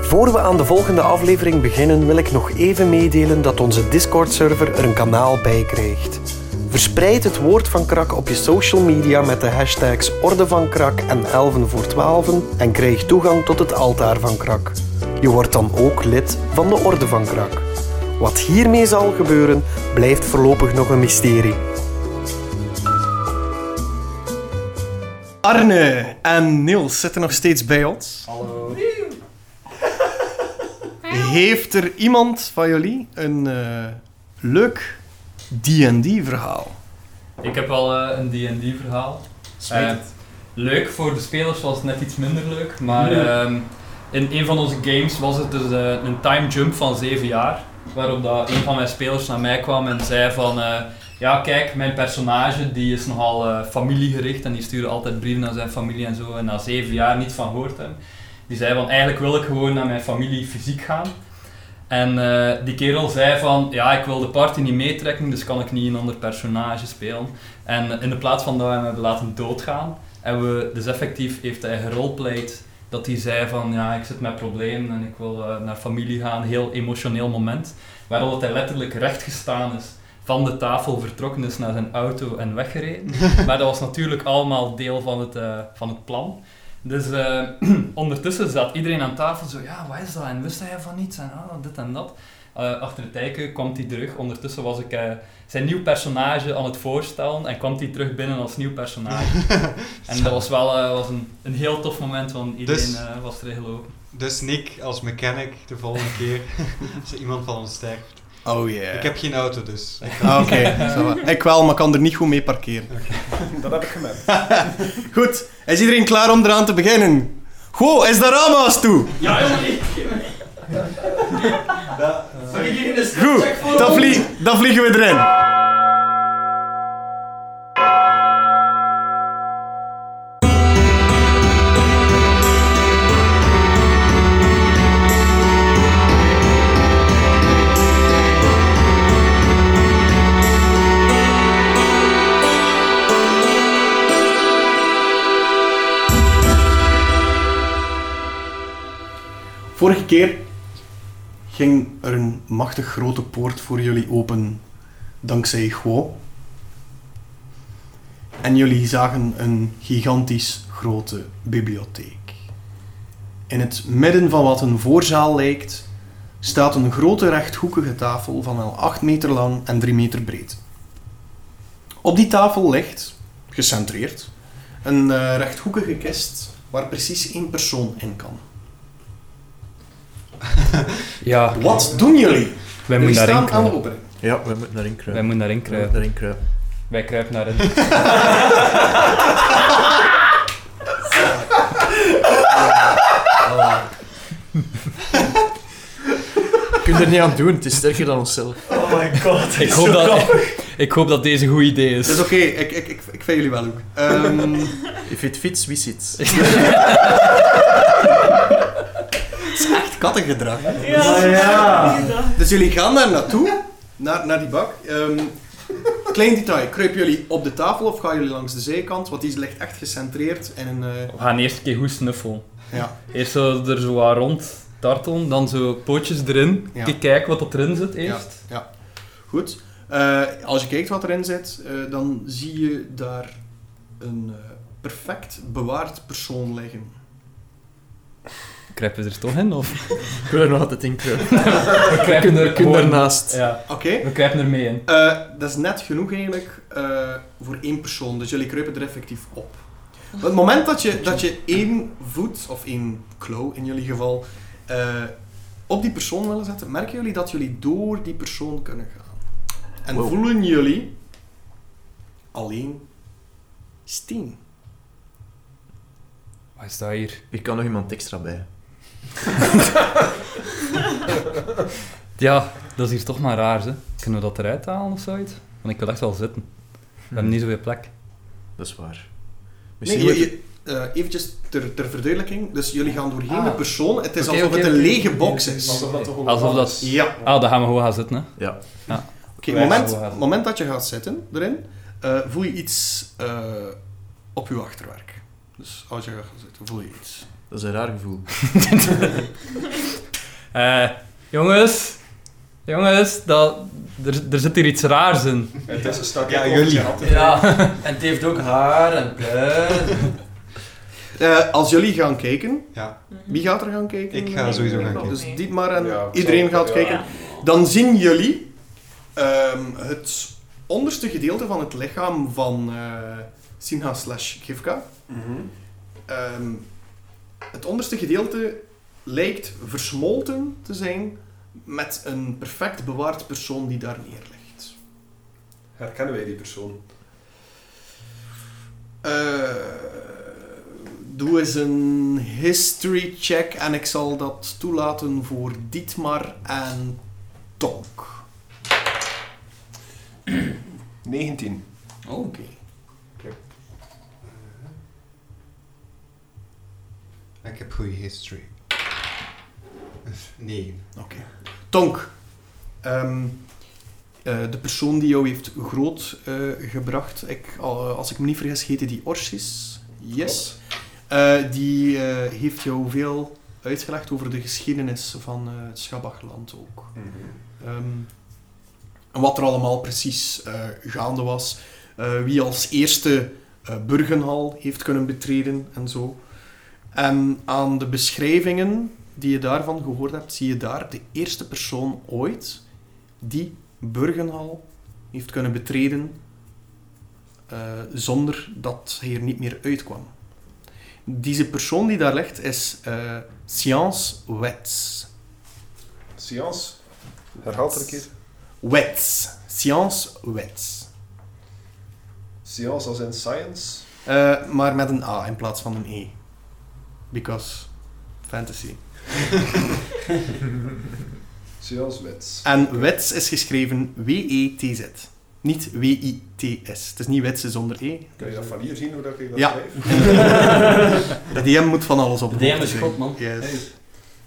Voor we aan de volgende aflevering beginnen, wil ik nog even meedelen dat onze Discord-server er een kanaal bij krijgt. Verspreid het woord van krak op je social media met de hashtags Orde van Krak en Elven voor Twaalfen en krijg toegang tot het altaar van krak. Je wordt dan ook lid van de Orde van Krak. Wat hiermee zal gebeuren, blijft voorlopig nog een mysterie. Arne en Niels zitten nog steeds bij ons. Hallo. Heeft er iemand van jullie een eh, leuk D&D-verhaal? Ik heb wel eh, een D&D verhaal. Eh, leuk voor de spelers was het net iets minder leuk, maar ehm, in een van onze games was het dus eh, een time jump van 7 jaar, waarop dat een van mijn spelers naar mij kwam en zei van eh, ja kijk, mijn personage die is nogal eh, familiegericht en die stuurde altijd brieven naar zijn familie en zo en na 7 jaar niets van gehoord hebben. Die zei van eigenlijk wil ik gewoon naar mijn familie fysiek gaan. En eh, die kerel zei van, ja, ik wil de party niet meetrekken, dus kan ik niet een ander personage spelen. En in de plaats van dat we hem hebben laten doodgaan, hebben we, dus effectief heeft hij geroleplayed dat hij zei van, ja, ik zit met problemen en ik wil eh, naar familie gaan, heel emotioneel moment. Waarop dat hij letterlijk recht gestaan is, van de tafel vertrokken is naar zijn auto en weggereden. maar dat was natuurlijk allemaal deel van het, eh, van het plan. Dus eh, ondertussen zat iedereen aan tafel zo, ja, wat is dat? En wist hij van niets? En ah, dit en dat. Eh, achter het eiken kwam hij terug. Ondertussen was ik eh, zijn nieuw personage aan het voorstellen en kwam hij terug binnen als nieuw personage. en dat was wel eh, was een, een heel tof moment, want iedereen Dus- eh, was er heel open. Dus Nick als mechanic de volgende keer als er iemand van ons sterft. Oh yeah. Ik heb geen auto dus. Ik kan- Ah, Oké, ça va. ik wel, maar kan er niet goed mee parkeren. Dat heb ik gemerkt. Goed, is iedereen klaar om eraan te beginnen? Goh, is de rama's toe? Ja, Goed, dan, vlie- dan vliegen we erin. Vorige keer ging er een machtig grote poort voor jullie open, dankzij Guo. En jullie zagen een gigantisch grote bibliotheek. In het midden van wat een voorzaal lijkt, staat een grote rechthoekige tafel van wel 8 meter lang en 3 meter breed. Op die tafel ligt, gecentreerd, een eh, rechthoekige kist waar precies één persoon in kan. ja Wat doen jullie? wij jullie staan aan de opening. Ja, we moeten daarin kruipen. moeten daarin We moeten daarin kruipen. Wij kruipen daarin. Je kunt er niet aan doen, het is sterker dan onszelf. Oh my god. ik, hoop dat, ik hoop dat deze een goed idee is. Dat is oké, ik, ik, ik, ik vind jullie wel ook. Ehm, If it fits, wie zit? het is echt kattengedrag. hè. Ah, ja. Dus jullie gaan daar naartoe, naar, naar die bak. Ehm, klein detail, kruipen jullie op de tafel of gaan jullie langs de zijkant? Want die ligt echt gecentreerd in een... eh, We gaan eerst een keer goed snuffelen. ja. Eerst zo er zo wat rond tartelen, dan zo pootjes erin. Ja. Kijk, Kijk wat dat erin zit ja, eerst. ja. Goed. Eh, als je kijkt wat erin zit, eh, dan zie je daar een eh, perfect bewaard persoon liggen. Kruipen we er toch in? Of? Ik wil er nog altijd in kruipen. We Je kruipen kunt, er, kunt gewoon- ernaast. Ja, Oké. we kruipen er mee in. Eh, dat is net genoeg eigenlijk eh, voor één persoon. Dus jullie kruipen er effectief op. Op het moment dat je, dat je één voet, of één klauw in jullie geval, eh, op die persoon willen zetten, merken jullie dat jullie door die persoon kunnen gaan. En Wow. voelen jullie alleen steen. Wat is dat hier? Ik kan nog iemand extra bij. Ja, dat is hier toch maar raar, hè. Kunnen we dat eruit halen of zoiets? Want ik wil echt wel zitten. We hebben niet zoveel plek. Dat is waar. Nee, Misschien je, moet je- eh, eventjes ter, ter verduidelijking. Dus jullie gaan doorheen Ah. de persoon. Het is Oké, alsof oké, het een oké. lege box is. Alsof dat toch Alsof dat... Ja. Ah, dan gaan we gewoon gaan zitten, hè. Ja. Oké, Wij gaan moment, doorgaan. moment dat je gaat zitten erin, eh, voel je iets eh, op je achterwerk. Dus als je gaat zitten, voel je iets. Dat is een raar gevoel. Eh, jongens, jongens, dat, er, er zit hier iets raars in. Het is stak Ja, ik jullie. over je hand. Ja, en die heeft ook haar en kleur. Eh, als jullie gaan kijken, Ja. wie gaat er gaan kijken? Ik ga sowieso gaan kijken. Dus Dietmar en Ja, ik iedereen zal- gaat ja. kijken. Dan zien jullie ehm, het onderste gedeelte van het lichaam van eh, Sinha slash Gifka. Ehm, het onderste gedeelte lijkt versmolten te zijn met een perfect bewaard persoon die daar neerligt. Herkennen wij die persoon? Eh, doe eens een history check en ik zal dat toelaten voor Dietmar en Tonk. 19. Oh, Oké. Ik heb goede history. Nee. Tonk. Ehm, eh, de persoon die jou heeft groot eh, gebracht, ik, al- eh, als ik me niet vergis, heette die Orsis. Yes. Eh, die eh, heeft jou veel uitgelegd over de geschiedenis van eh, het Schabachland ook. Ehm, en wat er allemaal precies eh, gaande was. Eh, wie als eerste eh Burgenhal heeft kunnen betreden en zo. En aan de beschrijvingen die je daarvan gehoord hebt, zie je daar de eerste persoon ooit die Burgenhal heeft kunnen betreden eh, zonder dat hij er niet meer uitkwam. Deze persoon die daar ligt is eh Science Wets. Science. Herhaalt er een keer. Wets. Science Wets. Science als in science. Eh, maar met een A in plaats van een E. Because fantasy. Science wets. En Wets is geschreven W-E-T-Z. Niet W-I-T-S. Het is niet Wets zonder E. Kun je dat van hier zien hoe dat ik dat Ja. schrijf? De DM moet van alles op De DM hoogte is zijn. goed, man. Yes.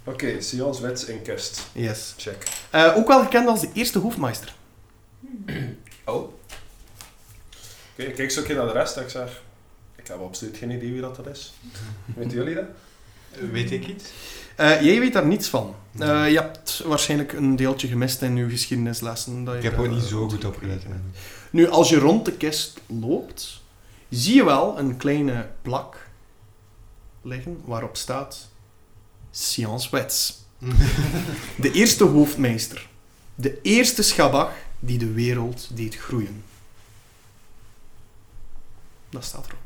Oké, science wets en kerst. yes. Check. Eh, ook wel gekend als de eerste hoofdmeister. Oké, ik kijk zo een keer naar de rest en ik zeg... Ik heb absoluut geen idee wie dat, dat is. Weten jullie dat? Weet ik iets? Eh, jij weet daar niets van. Eh, je hebt waarschijnlijk een deeltje gemist in je geschiedenislessen. Dat je Ik heb daar, ook niet eh, zo goed opgelet. hè. Nu, als je rond de kist loopt, zie je wel een kleine plak liggen waarop staat Science Wets. De eerste hoofdmeester. De eerste schabach die de wereld deed groeien. Dat staat erop.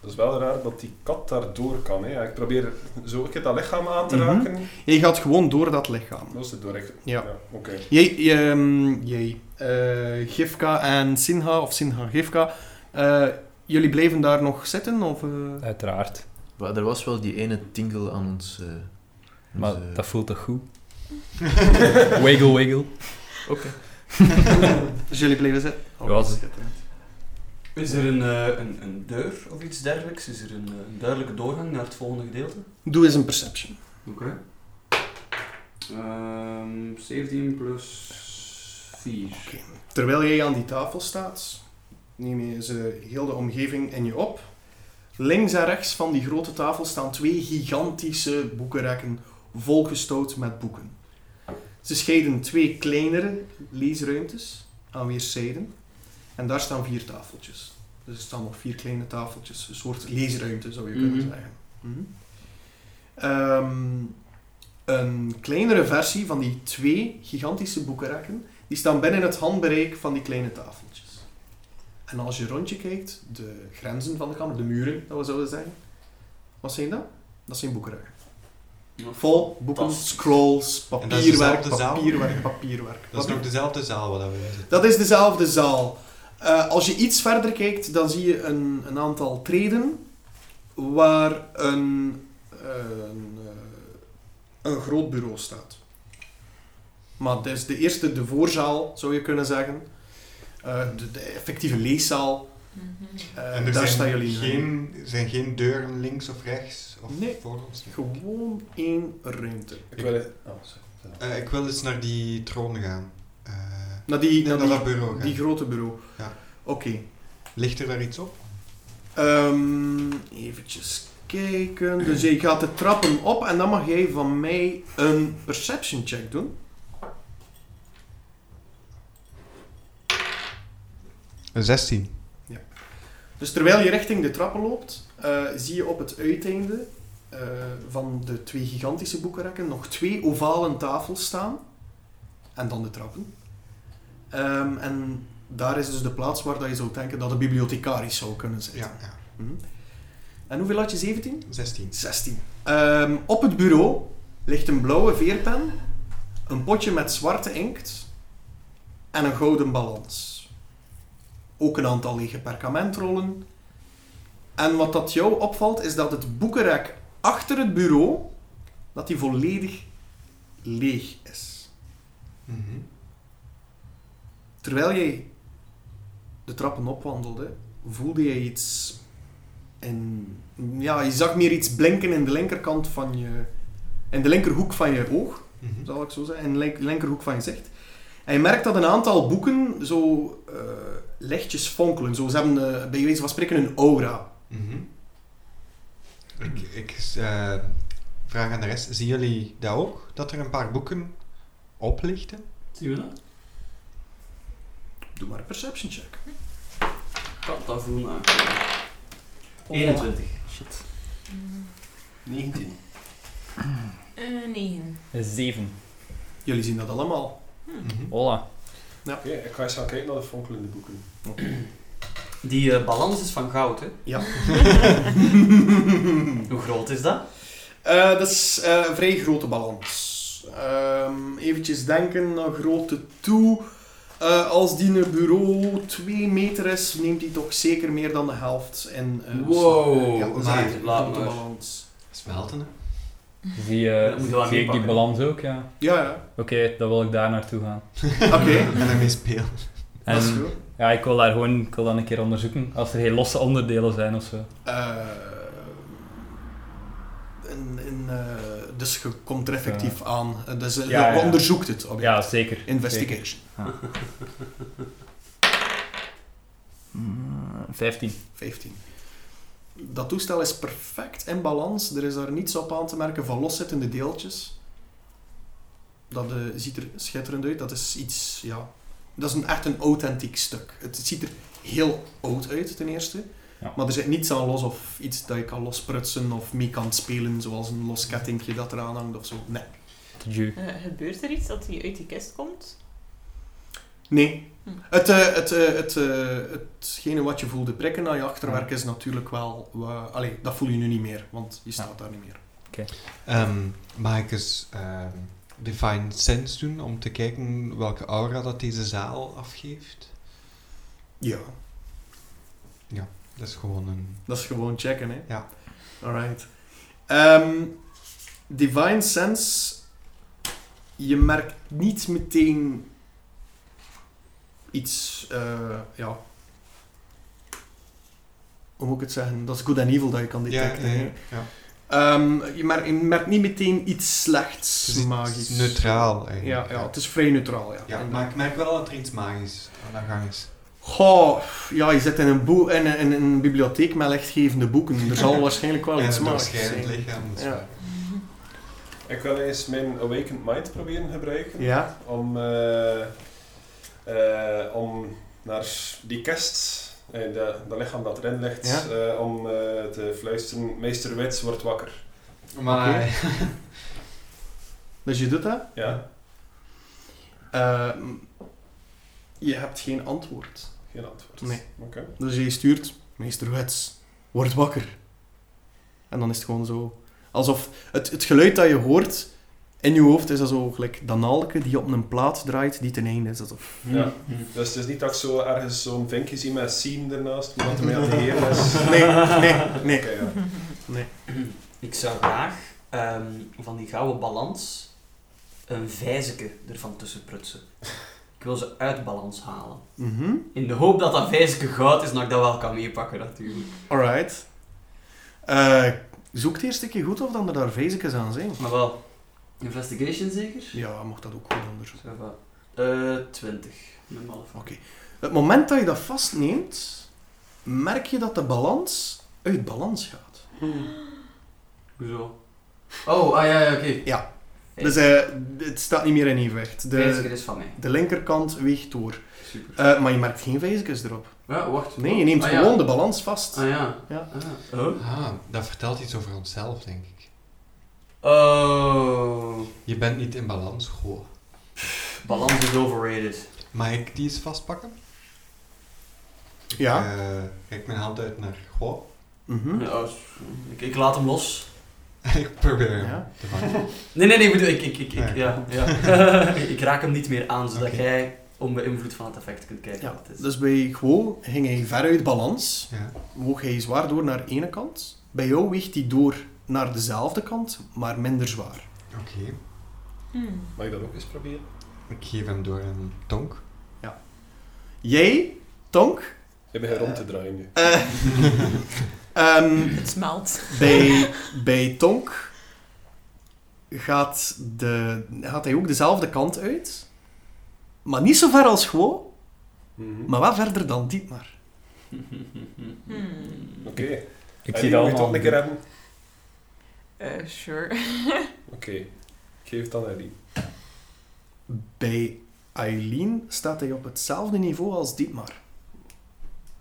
Dat is wel raar dat die kat daar door kan. Hè. Ik probeer zo een keer dat lichaam aan te Mhm. raken. Je gaat gewoon door dat lichaam. Dat is het doorrecht. Ja. Oké. Jij, ehm, jij eh, Gifka en Sinha, of Sinha Gifka, eh, jullie blijven daar nog zitten? Of, eh? Uiteraard. Maar er was wel die ene tingle aan ons... eh, Maar onze- dat voelt toch goed? wiggle, wiggle. Dus jullie blijven zitten? Ja, Oké, ze- zitten. Is er een, eh, een, een deur of iets dergelijks? Is er een, eh, een duidelijke doorgang naar het volgende gedeelte? Doe eens een perception. Oké. Ehm 17 plus 4. Terwijl jij aan die tafel staat, neem je ze heel de omgeving in je op. Links en rechts van die grote tafel staan twee gigantische boekenrekken volgestouwd met boeken. Ze scheiden twee kleinere leesruimtes aan weerszijden. En daar staan vier tafeltjes. Dus er staan nog vier kleine tafeltjes. Een soort leesruimte zou je kunnen Mhm. zeggen. Mhm. Ehm, een kleinere versie van die twee gigantische boekenrekken, die staan binnen het handbereik van die kleine tafeltjes. En als je rondje kijkt, de grenzen van de kamer, de muren, dat we zouden zeggen, wat zijn dat? Dat zijn boekenrekken. Vol boeken, Fantastisch. scrolls, En dat is dezelfde papierwerk, zaal? papierwerk, papierwerk. Dat Wat is nog dezelfde zaal waar we zitten. dat is dezelfde zaal. Eh, als je iets verder kijkt, dan zie je een, een aantal treden waar een, een, eh, een groot bureau staat. Maar dus de eerste, de voorzaal, zou je kunnen zeggen. Eh, de, de effectieve leeszaal. Eh, En er daar zijn, staan jullie nu. geen, zijn geen deuren links of rechts of Nee. voor ons. Nee. Gewoon één ruimte. Ik wil... Oh, sorry. Eh, ik wil eens naar die troon gaan. Eh, Naar die, nee, naar naar die, dat bureau gaan. die grote bureau. Ja. Oké. Ligt er daar iets op? Ehm eventjes kijken. Dus je gaat de trappen op en dan mag jij van mij een perception check doen. Een 16. Dus terwijl je richting de trappen loopt, eh, zie je op het uiteinde eh, van de twee gigantische boekenrekken nog twee ovale tafels staan. En dan de trappen. Ehm, en daar is dus de plaats waar dat je zou denken dat de bibliothecaris zou kunnen zitten. Ja, ja. Mhm. En hoeveel had je? 17? 16. 16. Ehm, op het bureau ligt een blauwe veerpen, een potje met zwarte inkt en een gouden balans. Ook een aantal lege perkamentrollen. En wat dat jou opvalt is dat het boekenrek achter het bureau dat die volledig leeg is. Mhm. Terwijl jij de trappen opwandelde, voelde je iets. En ja, je zag meer iets blinken in de linkerkant van je. in de linkerhoek van je oog, Mhm. zal ik zo zeggen. In de link- linkerhoek van je zicht. En je merkt dat een aantal boeken zo eh, lichtjes fonkelen. Zo, ze hebben eh, bij wijze van spreken een aura. Mhm. Ik, ik eh, vraag aan de rest, zien jullie dat ook? Dat er een paar boeken oplichten? Zien we dat? Doe maar een perception check. Kan dat eh, voelen aankomen. 21. Shit. 19. Eh, negen. Zeven. Jullie zien dat allemaal. Mhm. Hola. Oké, ik ga eens gaan kijken naar de fonkelende boeken. Die eh, balans is van goud, hè? Ja. Hoe groot is dat? Eh, dat is eh, een vrij grote balans. Ehm Even denken naar grootte toe. Eh, als die een bureau 2 meter is, neemt die toch zeker meer dan de helft. En, Eh, Wow, ja, dat is maar- een laat grote maar. balans. Smelten, hè? Zie, Ja, moet je wel je zie ik die meepakken. balans ook, ja. Ja, ja. Oké, dan wil ik daar naartoe gaan. Oké, En daarmee spelen. dat is En goed. ja, ik wil daar gewoon ik wil dan een keer onderzoeken als er geen losse onderdelen zijn of zo. Eh, en- en, eh, dus je komt er effectief aan. Eh, Dus eh, Ja, je ja. onderzoekt het object. Ja, zeker. Investigation. Mm, 15. 15. Dat toestel is perfect in balans. Er is daar niets op aan te merken van loszittende deeltjes. Dat eh, ziet er schitterend uit. Dat is iets, ja... Dat is een, echt een authentiek stuk. Het ziet er heel oud uit, ten eerste. Ja. Maar er zit niets aan los of iets dat je kan losprutsen of mee kan spelen, zoals een los kettingje dat eraan hangt of zo. Nee. Ju. Eh, gebeurt er iets dat hij uit die kist komt? Nee. Hm. Het, eh, het, eh, het, eh, hetgene wat je voelde prikken aan je achterwerk is natuurlijk wel... wa- allee, dat voel je nu niet meer, want je staat daar niet meer. Ehm, mag ik eens ehm, Divine Sense doen om te kijken welke aura dat deze zaal afgeeft? Ja, Dat is gewoon een... dat is gewoon checken, hè? Ja. Alright. Ehm, Divine Sense, je merkt niet meteen iets, eh, ja. Hoe moet ik het zeggen? Dat is good en evil dat je kan Ja, detecten. ja, hè. ja, ja. Ehm, je, merkt, je merkt niet meteen iets Het slechts is iets magisch. neutraal, Ja, eigenlijk. ja, het is vrij neutraal, ja. Ja, En- maar ik merk wel dat er iets magisch aan de gang is. Goh, ja, je zit in een, boe- in, een- in een bibliotheek met lichtgevende boeken. Er zal waarschijnlijk wel en Oh, iets een magisch doorschijnend zijn. lichaam. dat is Ja. waar. Ik wil eens mijn Awakened Mind proberen gebruiken. Ja, Om, eh, eh, om naar die kist, eh, de, dat lichaam dat erin ligt, Ja. eh, om eh, te fluisteren. Meester Wits wordt wakker. Maar dus je doet dat. Ja, Eh, je hebt geen antwoord. geen antwoord. Nee. Oké. Dus je stuurt, meester Wets, word wakker. En dan is het gewoon zo. Alsof het, het geluid dat je hoort in je hoofd is dat zo gelijk dat naalke die op een plaat draait die ten einde is. Alsof... Ja. Hm. Dus het is niet dat ik zo ergens zo'n vinkje zie met Siem ernaast, maar dat er mij aan de heer is. Nee, nee, nee. Oké, ja. Ik zou graag ehm, van die gouden balans een vijzeke ervan tussen prutsen. Ik wil ze uit balans halen. Mhm. In de hoop dat dat vijzeke goud is, dat ik dat wel kan meepakken natuurlijk. Alright. Eh, zoek het eerst een keer goed of dan er daar vezekes aan zijn. Maar wel, investigation zeker? Ja, mocht dat ook goed onderzoeken. Zo va. Eh, 20. Met malefact. Het moment dat je dat vastneemt, merk je dat de balans uit balans gaat. Hoezo? Oh, ah ja, ja, oké. Dus eh, het staat niet meer in evenwicht. Vijziger De, is van mij. de linkerkant weegt door. Super. Eh, maar je merkt geen vijzekes erop. Ja, wacht. Nee, je neemt Ah, ja. gewoon de balans vast. Ah ja. Ja. Ah. Oh. Ah, dat vertelt iets over onszelf, denk ik. Oh. Je bent niet in balans, goh. Balans is overrated. Mag ik die eens vastpakken? Ja. Eh, kijk mijn hand uit naar goh. Mhm. Ja, Oh, s- ik, ik laat hem los. En ik probeer hem Ja. te pakken. Nee, nee, nee, ik bedoel, ik, ik, ik, ik- Nee. ja, ja. ik ik raak hem niet meer aan, zodat Oké. jij onbeïnvloed van het effect kunt kijken. Ja, wat het is. dus bij Guo ging hij ver uit balans. Ja. Woog hij zwaar door naar de ene kant. Bij jou weegt hij door naar dezelfde kant, maar minder zwaar. Oké, Hmm. Mag ik dat ook eens proberen? ik geef hem door een tonk. Jij, Tonk, eh, Je begint rond te draaien nu. ehm, Het smelt. bij, bij Tonk gaat, de, gaat hij ook dezelfde kant uit. Maar niet zo ver als Guo, Mhm. maar wel verder dan Dietmar. Hmm. Oké. Ik En die moet zie dat je allemaal. toch een keer hebben. Eh, sure. Oké. Ik geef het dan aan die. Bij Eileen staat hij op hetzelfde niveau als Dietmar.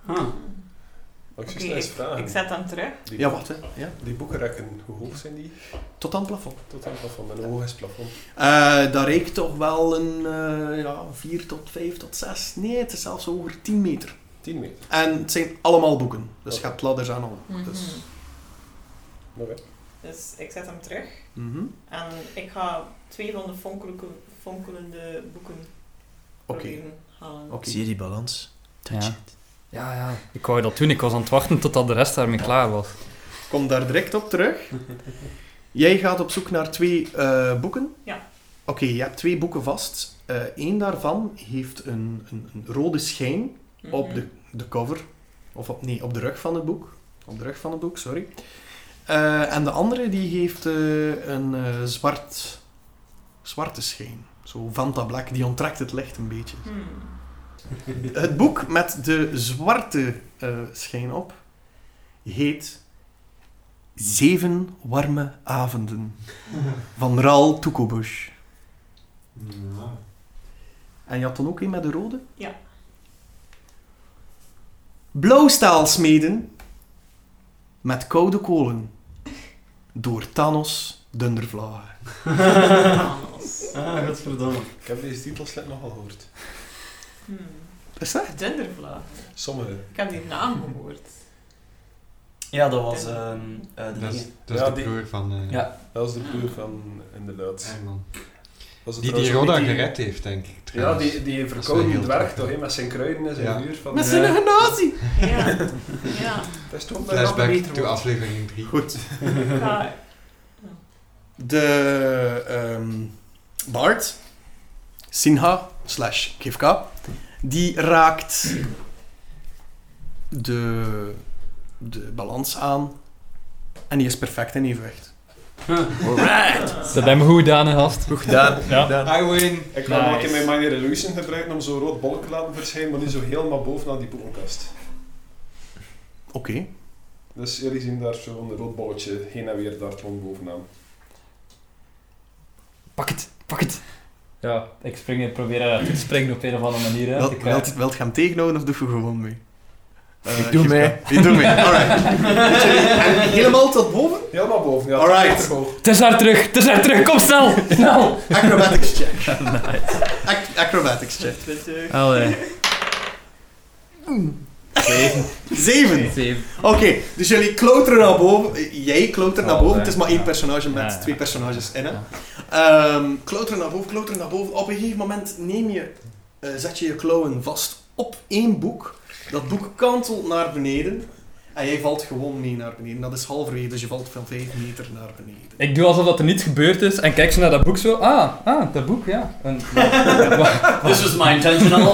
Huh. Mag ik Oké, ze eens vragen? ik zet hem terug. Die, Ja, wat hè? Ja. die boekenrekken, hoe hoog zijn die? Tot aan het plafond. Tot aan het plafond. En hoe hoog is het plafond? Eh dat reikt toch wel een eh, ja, 4 tot 5 tot 6. Nee, het is zelfs over 10 meter. 10 meter. En het zijn allemaal boeken. Dus je hebt ladders aan al. Dus, Mhm. Oké. Dus ik zet hem terug. mhm. En ik ga twee van de fonkelende, fonkelende boeken Oké. proberen halen. Oké. Zie je die balans? Ja. Ja, ja. Ik wou dat doen. Ik was aan het wachten totdat de rest daarmee klaar was. Kom daar direct op terug. Jij gaat op zoek naar twee eh, boeken. Ja. Oké, je hebt twee boeken vast. Eén daarvan heeft een, een, een rode schijn Mhm. op de, de cover. Of op, nee, op de rug van het boek. Op de rug van het boek, sorry. Eh, en de andere die heeft eh, een eh, zwart, zwarte schijn. Zo Vanta Black, die onttrekt het licht een beetje. Hmm. Het boek met de zwarte eh, schijn op heet Zeven warme avonden van Raal Toekobush. Ja. En je had dan ook een met de rode? Ja. Blauwstaal smeden met koude kolen door Thanos Dundervlagen. Thanos. Ah, godverdomme. Ik heb deze titels net nogal gehoord. Hmm. Is dat? Dundervlaag. Sommige. Ik heb die naam gehoord. Ja, dat was ehm eh de Dat is, dingen. dat is Ja, de die- broer van eh Ja. Dat is de broer van inderdaad. Herman. Was het Die trouwens die ook Roda niet gered heeft, denk ik. Ja, trouwens. die, die Dat is verkouden wel heel dwerg tof, toch, ja. hè, met zijn kruiden en zijn Ja. huur. Van Met de- zijn genazi! Ja. ja. Dat is toch wel een Flashback beter to woord. aflevering 3. Goed. Ik ga- De ehm Bart, Sinha slash Kivka, die raakt de, de balans aan en die is perfect in evenwicht. Dat hebben we goed gedaan, hè, gast. Goed gedaan. Ja. I win! Ik kan ook in Nice. mijn Minor Illusion gebruiken om zo'n rood bolk te laten verschijnen, maar nu zo helemaal bovenaan die boekenkast. Oké. Dus jullie zien daar zo'n rood bolletje heen en weer daar rond bovenaan. Pak het, pak het. Ja, ik spring, ik probeer eh, te springen op een of andere manier. Hè. Wel, Ik, eh, wilt, wilt je hem tegenhouden of doe je gewoon mee? Eh, Ik doe geef mee. dat. Ik doe mee, alright. En helemaal tot boven? Helemaal boven, ja. Alright. tot meter hoog. Het is daar terug, het is daar terug, kom snel! Snel! Acrobatics check. Ac- acrobatics check. Allee. Zeven. Zeven. Oké, dus jullie klouteren naar boven. Eh, Jij kloutert naar Oh, boven. ja. Het is maar één Ja. personage met Ja, ja. twee personages in. Hè? Ja. Ehm, klouteren naar boven, klouteren naar boven. Op een gegeven moment neem je, eh, zet je je klauwen vast op één boek. Dat boek kantelt naar beneden. En jij valt gewoon mee naar beneden. Dat is halverwege, dus je valt van vijf meter naar beneden. Ik doe alsof dat er niets gebeurd is en kijk ze naar dat boek zo. Ah, ah, dat boek, ja. En, ja, wa- This was my intention all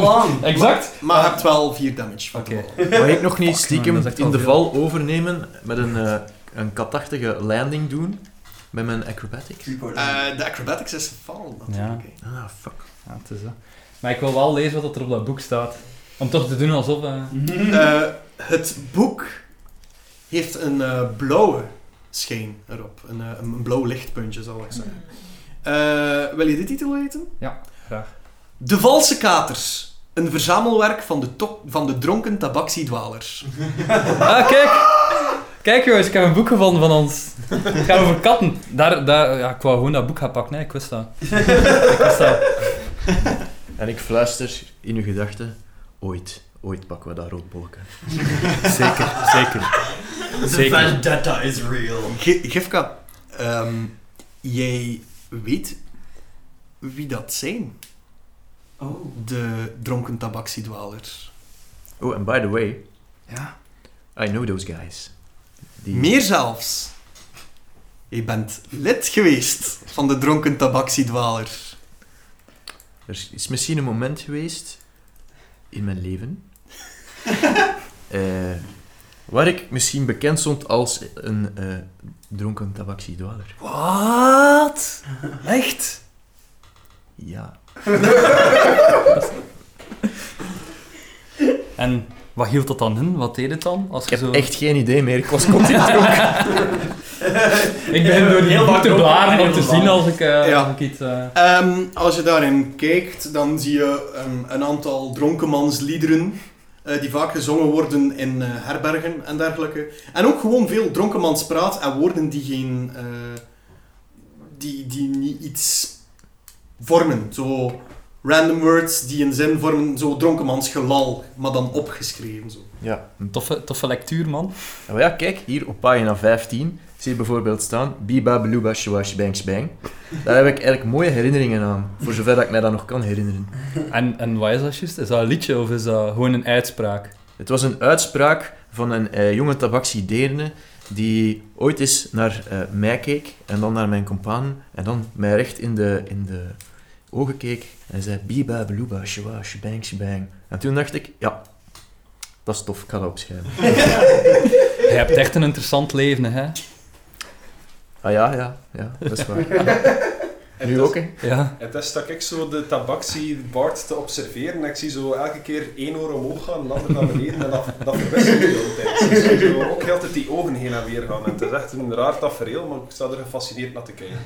along. exact. Maar je hebt wel 4 damage van Oké. de bal. Mag ik nog niet Fuck, stiekem man, dat is echt in wel de veel. val overnemen met een, eh, een katachtige landing doen met mijn acrobatics? Eh, de acrobatics is gevallen natuurlijk. hè. Ah, fuck. Ja, het is zo. Maar ik wil wel lezen wat er op dat boek staat. Om toch te doen alsof... eh, Mm-hmm. Eh, het boek heeft een eh, blauwe schijn erop. Een, eh, een blauw lichtpuntje, zal ik Mm. zeggen. Eh, wil je dit titel weten? Ja, graag. De Valse Katers. Een verzamelwerk van de, to- van de dronken tabaksiedwalers. Ah, kijk! Kijk jongens, ik heb een boek gevonden van ons. Het gaat over katten. Daar, daar, ja, ik wou gewoon dat boek gaan pakken, nee, ik wist dat. ik wist dat. En ik fluister in uw gedachten, ooit, ooit pakken we dat roodbolken. zeker, zeker. The Zeker. vendetta is real. Ge- Gifka, ehm, jij weet wie dat zijn, Oh. de dronken tabaksiedwalers. Oh, and by the way, Ja. I know those guys. Die- Meer zelfs. Je bent lid geweest van de dronken tabaksiedwalers. Er is misschien een moment geweest in mijn leven eh, waar ik misschien bekend stond als een eh, dronken tabaksiedwaler. Wat? Echt? Ja. En wat hield dat dan in? Wat deed het dan? Als Ik je heb zo... echt geen idee meer. Ik was continu dronken. Ik begin door die Heel boek lang te ook, blaren heel om te lang. zien als ik, eh, Ja. als ik iets... eh, Ehm, als je daarin kijkt, dan zie je ehm, een aantal dronkenmansliederen eh, die vaak gezongen worden in eh, herbergen en dergelijke. En ook gewoon veel dronkenmanspraat en woorden die geen... eh, die, die niet iets vormen. Zo random words die een zin vormen, zo dronkenmansgelal, maar dan opgeschreven. Zo. Ja. toffe, toffe lectuur, man. Nou ja, kijk, hier op pagina 15 zie je bijvoorbeeld staan Biba Beluba Shawash Bangs Bang. Daar heb ik eigenlijk mooie herinneringen aan, voor zover dat ik mij dat nog kan herinneren. En, en wat is dat juist? Is dat een liedje of is dat gewoon een uitspraak? Het was een uitspraak van een eh, jonge tabaksiderende die ooit eens naar eh, mij keek en dan naar mijn compaan en dan mij recht in de, in de ogen keek en zei biba beluba shwa shbang shbang. En toen dacht ik, ja, dat is tof, ik ga dat opschrijven. Je hebt echt een interessant leven, hè? Ah ja, ja, ja, dat is waar. En Nu dus- ook, hè. Ja. En dus dat ik zo de tabaksie Bart te observeren en ik zie zo elke keer één oor omhoog gaan en de ander naar beneden en dat, dat verwisselt de hele tijd. Dus ik zie zo ook heel tijd die ogen heen en weer gaan en het is echt een raar tafereel, maar ik sta er gefascineerd naar te kijken.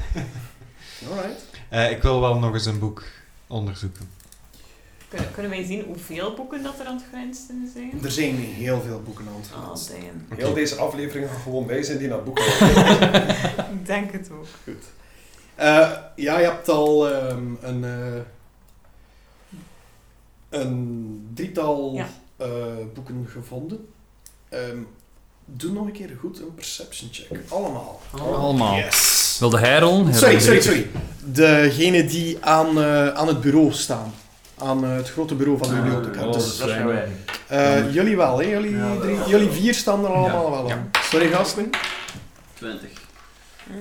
Alright. Eh, ik wil wel nog eens een boek onderzoeken. Kunnen, kunnen wij zien hoeveel boeken dat er aan het grenzen zijn? Er zijn heel veel boeken aan het Oh, damn. Heel deze aflevering gaan gewoon wij zijn die naar boeken Ik denk het ook. Goed. Eh, ja, je hebt al ehm, een, eh, een drietal Ja. eh, boeken gevonden. Ehm, doe nog een keer goed een perception check. Allemaal. Allemaal. Yes. Wilde hij rollen? Hij Sorry, rolde sorry, niet. sorry. Degene die aan, eh, aan het bureau staan. Aan eh, het grote bureau van de Ah, bibliotheek. oh, Dus, dat zijn wij. eh, jullie wel, hè? Jullie, Ja, dat drie- wel. jullie vier staan er allemaal wel Ja. aan. Sorry, gasten. 20.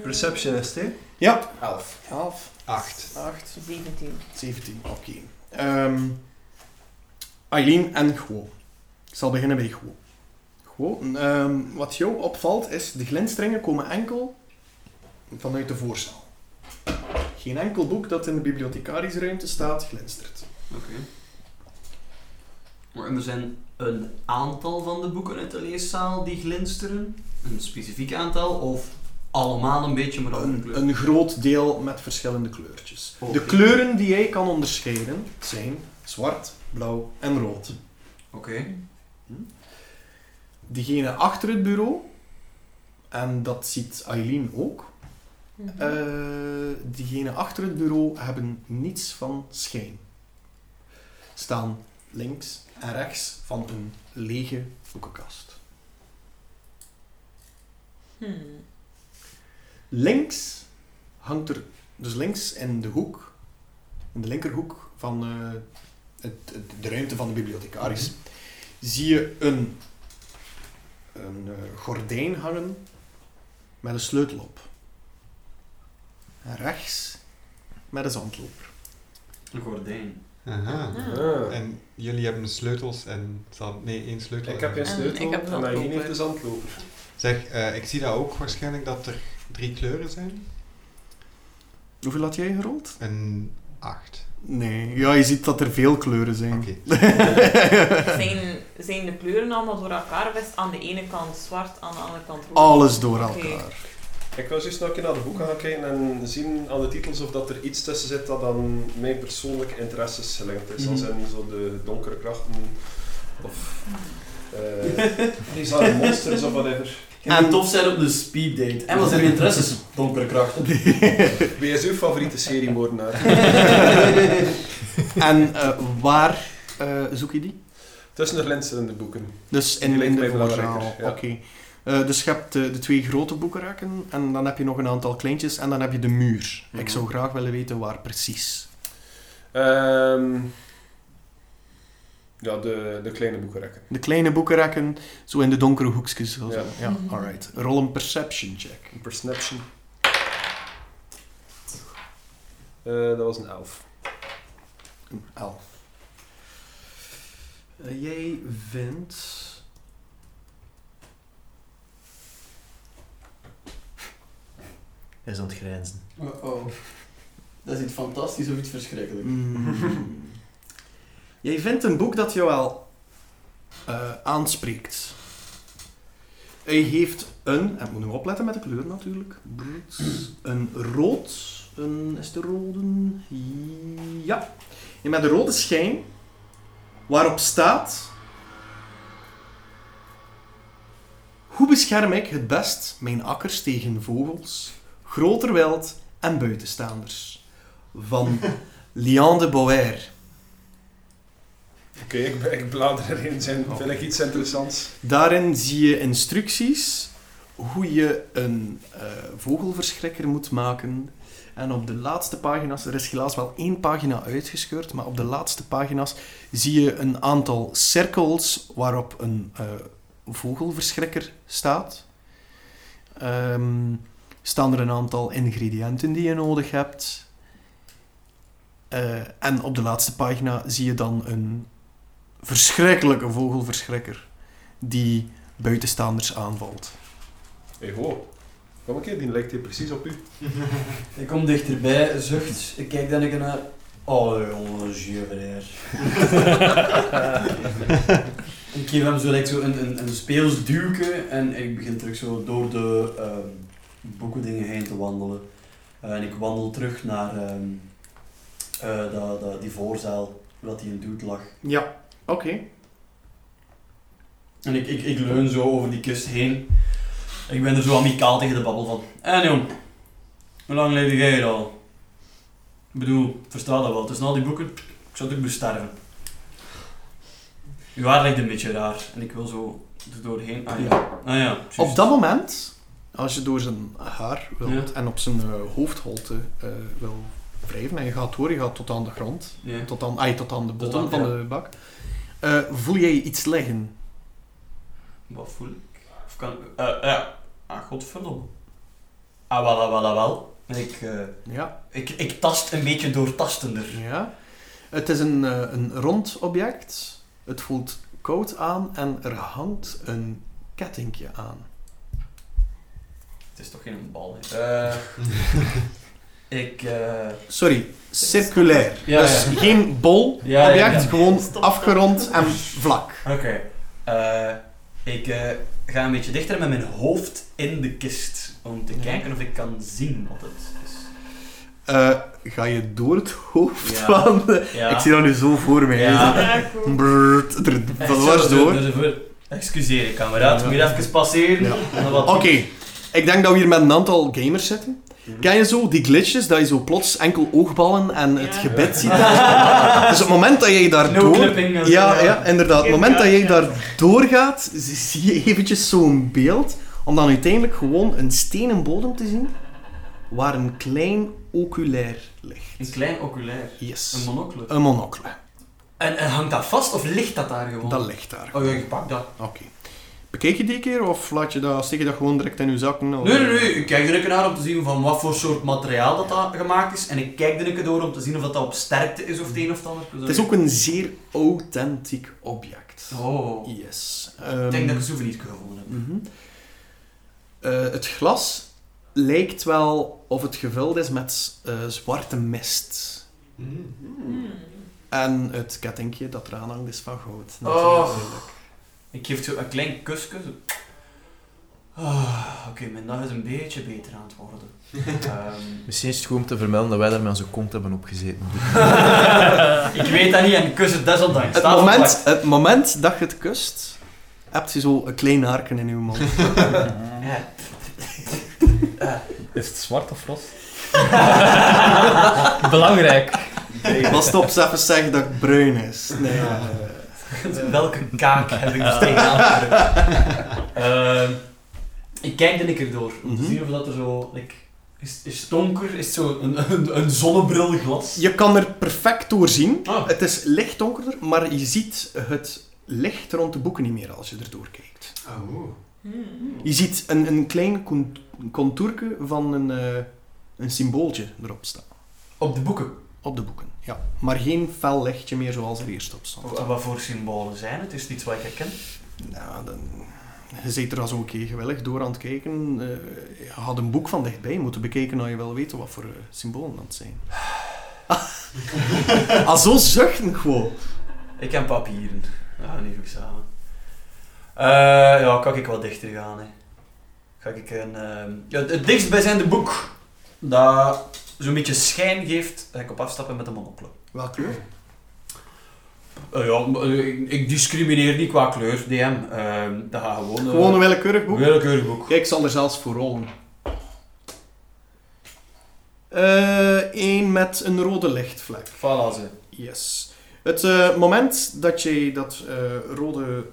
Perceptionist, hè? Ja. Elf. 11, Acht. 8, 17. 17, oké. Ehm, Eileen en Guo. Ik zal beginnen bij Guo. Guo, ehm, wat jou opvalt is, de glinsteringen komen enkel vanuit de voorzaal. Geen enkel boek dat in de bibliothecarisruimte staat, glinstert. Maar er zijn een aantal van de boeken uit de leeszaal die glinsteren. Een specifiek aantal of allemaal een beetje, maar dan een Een, kleur. een groot deel met verschillende kleurtjes. Oké. De kleuren die jij kan onderscheiden zijn zwart, blauw en rood. Oké. Diegene achter het bureau, en dat ziet Eileen ook, Eh, diegenen achter het bureau hebben niets van schijn. Staan links en rechts van een lege boekenkast. Mhm. Hmm. Links hangt er, dus links in de hoek, in de linkerhoek van eh, het, het- de ruimte van de bibliothecaris, Mhm. zie je een, een eh, gordijn hangen met een sleutel op. En rechts met een zandloop. Een gordijn. Aha. Ah. En jullie hebben de sleutels en... zal- Nee, één sleutel. Ik heb geen En sleutel ik heb en zandloper. Aileen heeft de zandloper. Zeg, eh, ik zie dat ook waarschijnlijk dat er drie kleuren zijn. Hoeveel had jij gerold? Een acht. Nee, ja, je ziet dat er veel kleuren zijn. Oké. Zijn, zijn de kleuren allemaal door elkaar best aan de ene kant zwart, aan de andere kant rood? Alles door Oké. elkaar. Ik wil juist nog een keer naar de boeken gaan kijken en zien aan de titels of dat er iets tussen zit dat aan mijn persoonlijke interesses gelinkt is. Als Mhm. in zo de donkere krachten of eh bizarre monsters of whatever. Je moet tof zijn op de speeddate. En wat zijn de interesses? Donkere krachten. Wie is uw favoriete serie moordenaar? En eh, waar eh, zoek je die? Tussen de glinsterende boeken. Dus Die in, lijkt in de mij voorzaal. belangrijker, Oké. ja. Eh, dus je hebt de, de twee grote boekenrakken en dan heb je nog een aantal kleintjes en dan heb je de muur. Ik Mhm. zou graag willen weten waar precies. Ehm, ja, de, de kleine boekenrekken. De kleine boekenrakken, zo in de donkere hoekjes. zo. Ja. Ja, alright. Rol een perception check. Een Perception. Eh, dat was een elf. Elf. Eh, jij vindt... Hij is aan het grijnzen. Oh-oh. Dat is iets fantastisch of iets verschrikkelijks. Mm. Jij vindt een boek dat jou wel eh, aanspreekt. Hij heeft een, en ik moet nu opletten met de kleur natuurlijk, Brrrt. een rood, een, is het een rode? Ja. En met een rode schijn, waarop staat... Hoe bescherm ik het best mijn akkers tegen vogels, groter wild en buitenstaanders? Van Lian de Boer. Oké, ik, ik blader erin. Zijn, Vind ik iets interessants? Daarin zie je instructies hoe je een eh, vogelverschrikker moet maken. En op de laatste pagina's, er is helaas wel één pagina uitgescheurd, maar op de laatste pagina's zie je een aantal cirkels waarop een eh, vogelverschrikker staat. Ehm, staan er een aantal ingrediënten die je nodig hebt. Eh, en op de laatste pagina zie je dan een verschrikkelijke vogelverschrikker die buitenstaanders aanvalt. Hey, ho. Kom een keer, die lijkt hier precies op u. Ik kom dichterbij, zucht. Ik kijk dan ik naar. Oh jongen, jeuvereer. ik geef hem zo, like, zo een, een, een speels duwke en ik begin terug zo door de ehm boekendingen heen te wandelen. Eh, en ik wandel terug naar ehm, eh, dat- dat- die voorzaal, wat die een dude lag. Ja, oké. En ik, ik, ik leun zo over die kust heen. Ik ben er zo amicaal tegen de babbel van. En jong, hoe lang leefde jij hier al? Ik bedoel, ik versta dat wel. Tussen al die boeken, ik zou natuurlijk besterven. Uw haar lijkt een beetje raar. En ik wil zo er doorheen. Ah ja, ah ja. juist. Op dat moment, als je door zijn haar wilt Ja. en op zijn eh, hoofdholte eh, wil wrijven, en je gaat door, je gaat tot aan de grond, Ja. tot aan, ai, tot aan de Tot bodem aan- van ja. de bak, eh, voel jij iets liggen. Wat voel ik? Of kan ik... eh ja. Ah, godverdomme. Ah, wel, ah, wel, ah, wel. Ik, eh, Ja. ik, ik tast een beetje doortastender. ja. Het is een, eh, een rond object, het voelt koud aan en er hangt een kettingje aan. Het is toch geen bal, hè? Eh, ik... eh, Sorry, circulair. Ja, dus ja. geen bol Ja, ja, object, ja. gewoon Stop. afgerond en vlak. Oké. Eh, ik eh, ga een beetje dichter met mijn hoofd in de kist. Om te Ja. kijken of ik kan zien wat het is. Eh, ga je door het hoofd Ja. van... de- Ja. Ik zie dat nu zo voor mij. Ja. Ja, cool. Brrrt, er- Echt van zo, dwars zo, door. zo, zo. Dus Excuseer, kameraad. Ja. Moet je even passeren? Ja. En dan wat- Oké, ik denk dat we hier met een aantal gamers zitten. Mhm. Ken je zo die glitches, dat je zo plots enkel oogballen en het Ja. gebit ziet? dus op het moment dat jij daar No door... clipping. en zo, Ja, ja, inderdaad. Op het moment dat jij Ja. daar doorgaat, z- zie je eventjes zo'n beeld. Om dan uiteindelijk gewoon een stenen bodem te zien waar een klein oculair Een ligt. klein oculair. Een Yes. monocle. Een monocle. En, en hangt dat vast of ligt dat daar gewoon? Dat ligt daar. Oh ja, ik pak dat. Oké. Bekijk je die keer of laat je dat, steek je dat gewoon direct in je zakken? of- Nee, nee, nee. Ik kijk er een keer naar om te zien van wat voor soort materiaal dat, dat gemaakt is. En ik kijk er een keer door om te zien of dat, dat op sterkte is of het een of het ander. Het is ook een zeer authentiek object. Oh. Yes. Ik denk Ehm, dat ik een souvenir gevonden heb. Mhm. Eh, het glas lijkt wel of het gevuld is met eh, zwarte mist. Mhm. Hmm. En het kettingje dat eraan hangt is van goud. Oh. natuurlijk. Ik geef zo een klein kusje. zo. Ah, Oké, mijn dag is een beetje beter aan het worden. Ehm, Misschien is het goed om te vermelden dat wij daar met onze kont hebben opgezeten. ik weet dat niet en ik kus het desondanks. Het Staat moment, verpakt. het moment dat je het kust, hebt je zo een klein harken in je mond. Ja. Is het zwart of rost? Belangrijk. Ik was op even zeggen dat het bruin is. Nee, eh, ja. Welke kaak heb ik dus tegenaan gedrukt? Ehm, Ik kijk er een keer door, om te Mhm. zien of dat er zo... like, is, is het donker? Is het zo een, een, een zonnebrilglas? Je kan er perfect door zien. Ah. Het is licht donkerder, maar je ziet het licht rond de boeken niet meer als je erdoor kijkt. Oh. Hmm. Je ziet een, een klein con- contourke van een, eh, een symbooltje erop staan. Op de boeken. Op de boeken, ja. Maar geen fel lichtje meer zoals er eerst op stond. Wa- Wat voor symbolen zijn het? Is het iets wat ik herken? Nou, dan... Je zit er als een keer gewillig door aan het kijken. Eh, je had een boek van dichtbij moeten bekijken, als je wel weet wat voor eh, symbolen dat zijn. ah, zo zuchten gewoon. Ik heb papieren. Ja, niet goed samen. Eh, ja, kan ik wel dichter gaan. Hè. Ga ik een, ehm, ja, het dichtstbijzijnde boek dat zo'n beetje schijn geeft, ga ik op afstappen met een monocle. Welke kleur? Eh, ja, maar, eh, ik, ik discrimineer niet qua kleur, DM. Ehm dat gaat gewoon... eh, Gewoon een willekeurig boek. willekeurig boek. Kijk, ik zal er zelfs voor rollen. Eh Eén met een rode lichtvlek. Voilà, ze. Yes. Het eh, moment dat je dat eh, rode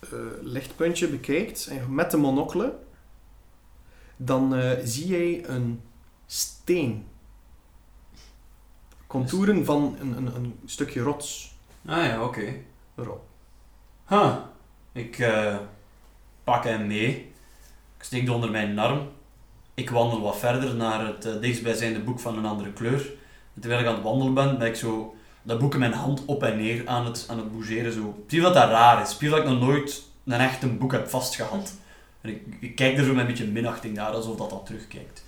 eh, lichtpuntje bekijkt en met de monocle, dan eh, zie jij een steen. Contouren van een, een, een stukje rots Ah ja, oké. erop. Huh. Ik eh, pak hem mee. Ik steek die onder mijn arm. Ik wandel wat verder naar het eh, dichtstbijzijnde boek van een andere kleur. En terwijl ik aan het wandelen ben, ben ik zo dat boek in mijn hand op en neer aan het, aan het bougeren. Zo. Zie dat dat raar is. Zie dat ik nog nooit een echt een boek heb vastgehad. En ik, ik kijk er zo met een beetje minachting naar, alsof dat dat terugkijkt.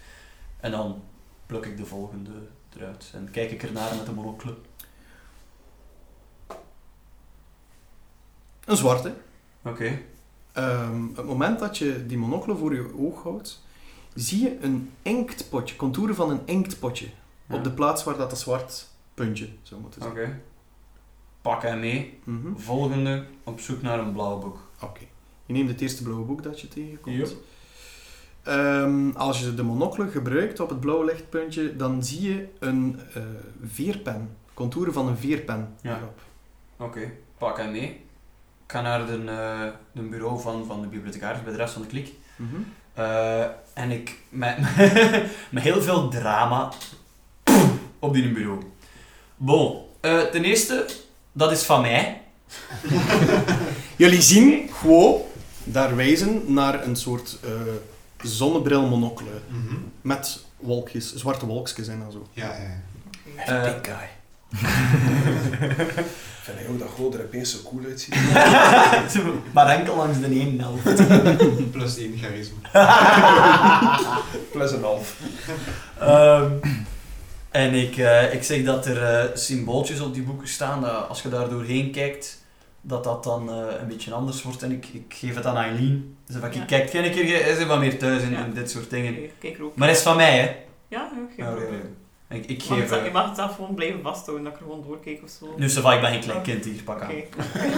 En dan pluk ik de volgende eruit. En kijk ik ernaar met de monocle. Een zwarte. Oké. Ehm, het moment dat je die monocle voor je oog houdt, zie je een inktpotje, contouren van een inktpotje. Op de plaats waar dat een zwart puntje zou moeten Oké. zijn. Pak hem mee. Mhm. Volgende, op zoek naar een blauw boek. Oké. Je neemt het eerste blauwe boek dat je tegenkomt. Yep. Ehm, als je de monocle gebruikt op het blauwe lichtpuntje, dan zie je een eh, veerpen. Contouren van een veerpen. Ja. erop. Oké, pak hem mee. Ik ga naar de, eh, de bureau van, van de bibliothecaris, bij de rest van de klik. Mhm. Eh, en ik, met, met heel veel drama, op die bureau. Bon, eh, ten eerste, dat is van mij. Jullie zien gewoon daar wijzen naar een soort eh zonnebrilmonocle. Mhm. Met wolkjes, zwarte wolkjes en dan zo. Ja, ja. Eh, Vind ik ook dat God er opeens zo cool uitziet. Zo, maar enkel langs de ene helft. Plus één charisma. Plus een half. Ehm, en ik, eh, ik zeg dat er eh, symbooltjes op die boeken staan, dat als je daar doorheen kijkt, dat dat dan eh, een beetje anders wordt. En ik, ik geef het aan Eileen. Dus dan van, Ja. ik kijk geen keer, jij- jij zit wat meer thuis in, Ja. in dit soort dingen. Ik Kijk er ook. Maar het is van mij, hè? Ja, ja, geen Ja, ja, ja. probleem. Ik, ik Je mag, geef... het, je eh, mag het zelf gewoon blijven vasthouden, dat ik er gewoon doorkijk of zo. nu, Sava, ik ben geen klein kind hier, pak aan. Oké.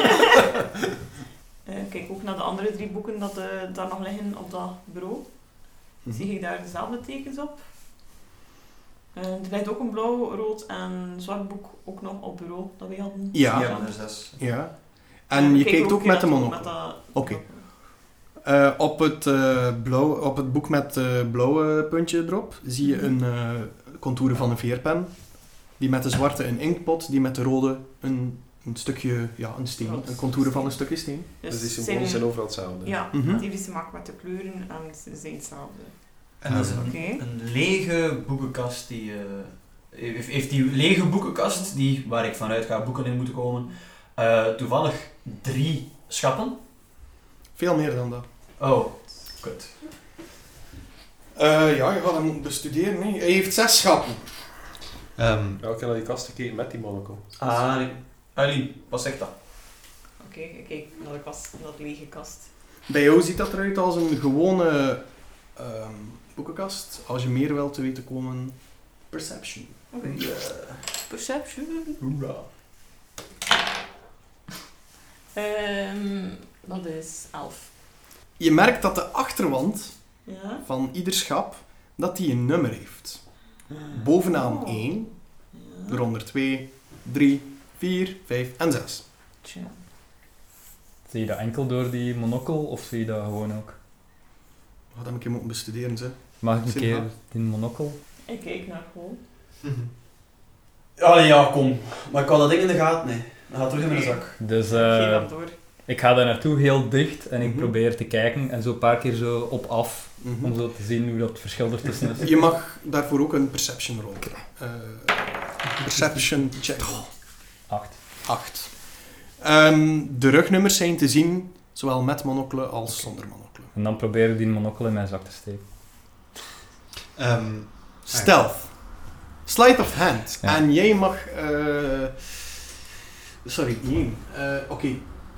Eh, kijk ook naar de andere drie boeken dat eh, daar nog liggen op dat bureau. Mhm. Zie ik daar dezelfde tekens op? Eh, er ligt ook een blauw, rood en zwart boek ook nog op bureau dat we hadden. Ja. Ja, maar er is zes. Ja. we En je kijken kijkt ook met de inderdaad monocle. dat- Oké. Eh, op, het, eh, blauw, op het boek met het blauwe puntje erop zie je een eh contouren van een veerpen. Die met de zwarte een inktpot, die met de rode een, een stukje, ja, een steen. Rots. Een contouren van een stukje steen. Dus, Dus die zijn, symbolen zijn overal hetzelfde. Ja, Mhm. die hebben te maken met de kleuren en ze zijn hetzelfde. En dat is een, Oké. een lege boekenkast die... eh, heeft, heeft die lege boekenkast, die, waar ik vanuit ga boeken in moeten komen, eh, toevallig drie schappen. Veel meer dan dat. Oh, kut. Eh, ja, je gaat hem moeten bestuderen. hè. Hij heeft zes schappen. Ehm, Ja, ik heb naar die kast gekeken met die monocle. Ah, nee. Eileen, wat zegt dat? Oké, ik kijk naar de kast, naar de lege kast. Bij jou ziet dat eruit als een gewone ehm, boekenkast. Als je meer wilt te weten komen, perception. Oké. Perception. Hoera. Ehm, dat is 11. Je merkt dat de achterwand Ja. van ieder schap dat die een nummer heeft. Bovenaan Oh. 1, ja. eronder 2, 3, 4, 5 en 6. Tja. Zie je dat enkel door die monokkel of zie je dat gewoon ook? Wat heb Oh, ik hier moeten bestuderen, ze? Mag ik een Zie je keer dat? die monokkel? Ik kijk naar Paul. Allee, ja, kom. Maar ik had dat ding in de gaten, nee. Dat gaat terug in mijn Nee. zak. Dus Ik eh, geef hem door. ik ga daar naartoe heel dicht en ik Mhm. probeer te kijken en zo een paar keer zo op af Mhm. om zo te zien hoe dat het verschil ertussen is. Je mag daarvoor ook een perception roll. Eh, perception check. Acht. 8. Ehm, de rugnummers zijn te zien, zowel met monocle als zonder monocle. En dan probeer ik die monokkel in mijn zak te steken. Ehm, Stealth. Sleight of hand. Ja. En jij mag... eh, sorry, niet één. Eh, Oké,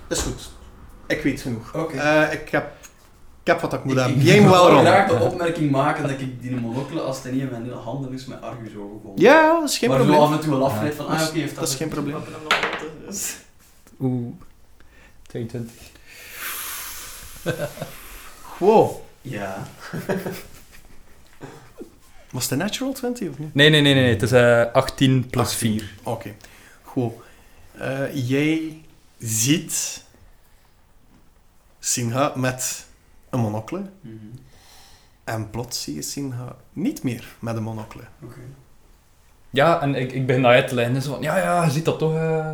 is goed. Ik weet genoeg. Oké. Eh, ik, heb, ik heb wat ik moet hebben. Ik- Jij moet wel Ik wil rollen. graag de opmerking maken dat ik die monocle als het niet in mijn handen is met Argus overkomen. Ja, dat is geen maar probleem. zo af en toe wel afgeleid van, ah oké, Dat is- heeft dat is geen Ik probleem. heb hem nog wel tussen, dus. Oeh. 22. Wow. Ja. Was het een natural 20 of niet? Nee, nee, nee, nee. nee. Het is eh 18 plus 18. 4. Oké, goed. Eh, jij ziet Singha met een monocle. Mhm. En plots zie je Singha niet meer met een monocle. Ja, en ik, ik begin dat uit te leggen. Dus van, ja, ja, je ziet dat toch eh,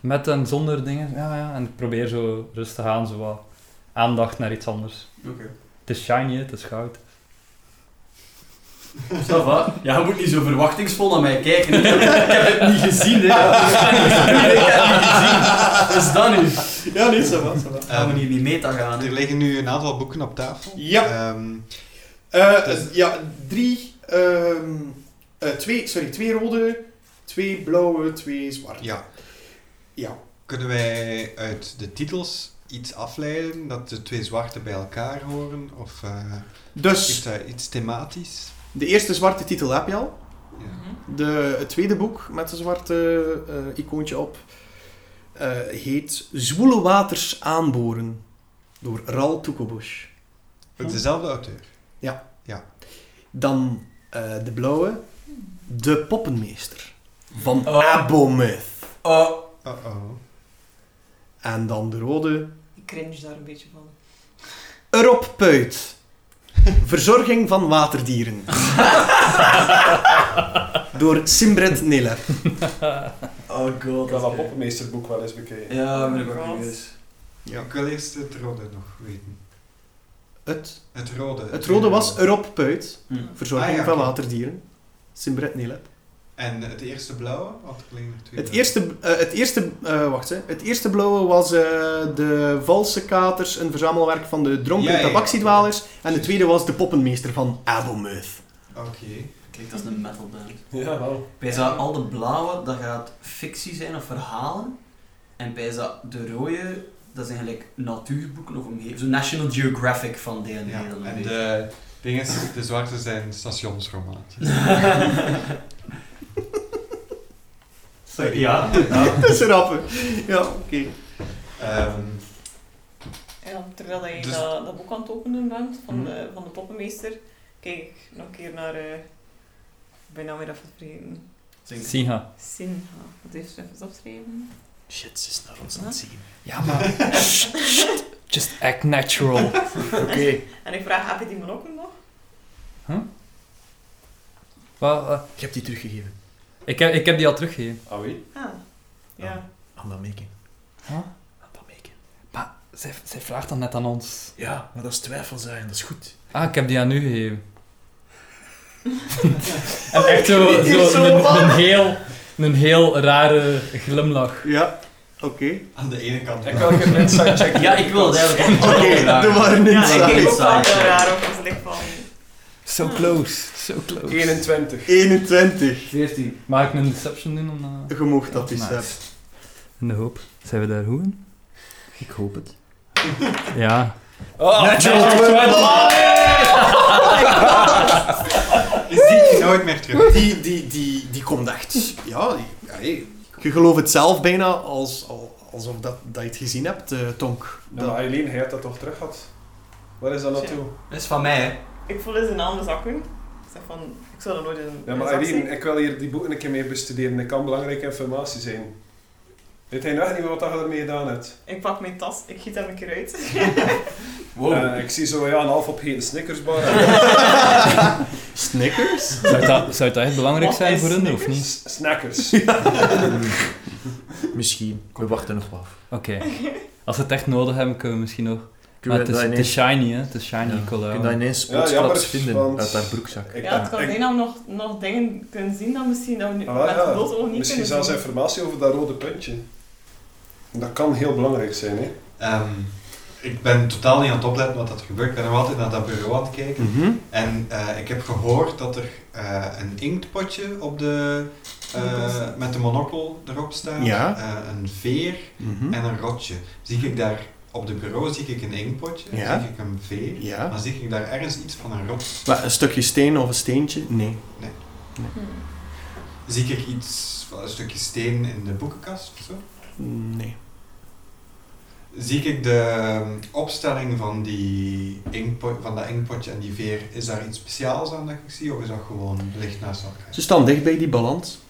met en zonder dingen. Ja, ja. En ik probeer zo rustig aan, zo wat aandacht naar iets anders. Oké. Het is shiny, hè, het is goud. Stava, ja, je moet niet zo verwachtingsvol naar mij kijken. Ik heb het niet gezien, hè. Ik heb het niet gezien. Wat is dat nu? Ja, nee, zo wat. Gaan we hier niet meta gaan, hè. er liggen nu een aantal boeken op tafel. Ja. Ehm, Eh, ja, drie, ehm, eh, twee, sorry, twee rode, twee blauwe, twee zwarte. ja. Ja. Kunnen wij uit de titels iets afleiden dat de twee zwarte bij elkaar horen? Of eh, is Dus, dat iets thematisch? de eerste zwarte titel heb je al. Ja. Mhm. De, het tweede boek met een zwarte eh, icoontje op eh, heet Zwoele waters aanboren door Ral Toekobosch. Dezelfde auteur. Dan eh, de blauwe, De Poppenmeester van Oh. Abometh. Oh, Oh oh. En dan de rode, Ik cringe daar een beetje van. Erop Puit. Verzorging van waterdieren. door Simbret Neler. oh god. Ik had dat poppenmeesterboek wel eens bekeken. Ja, ben ik ook curieus. Ja. Ik wil eerst het rode nog weten. Het, Het rode. het rode was Erop Puit. Hm. Verzorging Ah, ja, van oké. waterdieren. Simbret Neler. En het eerste blauwe? Want er liggen er twee Het blauwe. eerste, eh, het eerste eh, wacht hè. Het eerste blauwe was eh, de Valse Katers, een verzamelwerk van de dronken Ja, ja, ja. tabaxiedwalers. En de tweede was de poppenmeester van Abelmuth. Oké. Kijk, dat is een metal band. Ja, wel. Bij dat al de blauwe, dat gaat fictie zijn of verhalen. En bij dat de rode, dat zijn gelijk natuurboeken of omgeving. Zo National Geographic van DND. Ja, dan en weet de dingen, de zwarte zijn stationsromaatjes. je. Sorry, ja. ja. Dat is rappen. Ja, oké. Ehm, Ja, terwijl dat je Dus- dat, dat boek aan het openen bent van, Mhm. de, van de poppenmeester, kijk ik nog een keer naar. eh, ik ben nou weer even vergeten. Sinha. Sinha. Wat heeft ze even opgeschreven? Shit, ze is naar ons aan het zien. Ja, maar... Just act natural. Oké. En ik vraag: heb je die monokken nog? Wel, eh, Ik heb die teruggegeven ik, heb, ik heb die al teruggegeven. Ah, wie? Ah. Ja. Ah, aan dat meeken. Huh? Aan dat meeken. Zij, zij vraagt dan net aan ons. Ja, maar dat is twijfel zijn, dat is goed. Ah, ik heb die aan u gegeven. en echt Oh, zo, Ik hier zo, zo een, van. een heel, een heel rare glimlach. Ja, oké. aan de ene kant. Ik wil een keer een insight check. Ja, ik wil het eigenlijk ook Oké, wel graag. doe maar een Ja, insight. ik kijk ook wel Insight, heel ja. raar op als dus ik van. So close, so close. 21. 21. 14. Mag ik een deception doen om eh? dat- Je mag dat eens Nice. hebben. In de hoop. Zijn we daar goed in? Ik hoop het. Ja. Oh, Natural nee, twenty. Is die nooit meer terug? Die, die, die, die komt echt. Ja, die- allee, je gelooft het zelf bijna als, al- alsof dat, dat je het gezien hebt, eh, Tonk. Nou, maar Eileen, hij had dat toch terug gehad? Waar is dat naartoe? Dat is van mij, hè. Ik voel eens in andere zakken. Ik zeg van, ik zou dat nooit in Ja, in maar zak Eileen, zien. ik wil hier die boeken een keer mee bestuderen. Dat kan belangrijke informatie zijn. Weet hij nou- nog niet wat hij ermee gedaan hebt? Ik pak mijn tas, ik giet hem een keer uit. Wow. Oh. Eh, ik zie zo ja, een half opgeheten snickersbar. Snickers? Zou dat, zou dat echt belangrijk Wat zijn is voor hun, of snickers? niet? S- Snackers. Misschien. We wachten nog af. Oké. Als we het echt nodig hebben, kunnen we misschien nog... Maar Kunnen het we is, dat het is ineens, shiny, hè. Het is shiny ja. color. kunnen dat ineens Ja, plotsklaps jammer, vinden want- uit haar broekzak? Ik- Ja, het kan ik- bijna nog, nog dingen kunnen zien dat misschien dat we nu Ah, met ja. het blote oog niet Misschien kunnen zelfs informatie over dat rode puntje. Dat kan heel belangrijk zijn, hè? Ehm, ik ben totaal niet aan het opletten wat dat er gebeurt. Ik ben nog altijd naar dat bureau aan het kijken. Mhm. En eh, ik heb gehoord dat er eh, een inktpotje op de, eh, met de monokkel erop staat. Ja. Eh, een veer Mhm. en een rotje. Zie ik daar op de bureau zie ik een inktpotje, Ja. zie ik een veer. Ja. Maar zie ik daar ergens iets van een rot? Maar een stukje steen of een steentje? Nee. Hm. Zie ik iets van een stukje steen in de boekenkast of zo? Nee. Zie ik de ehm, opstelling van, die inkpo- van dat inkpotje en die veer, is daar iets speciaals aan dat ik zie? Of is dat gewoon licht naast elkaar? Ze staan dicht bij die balans.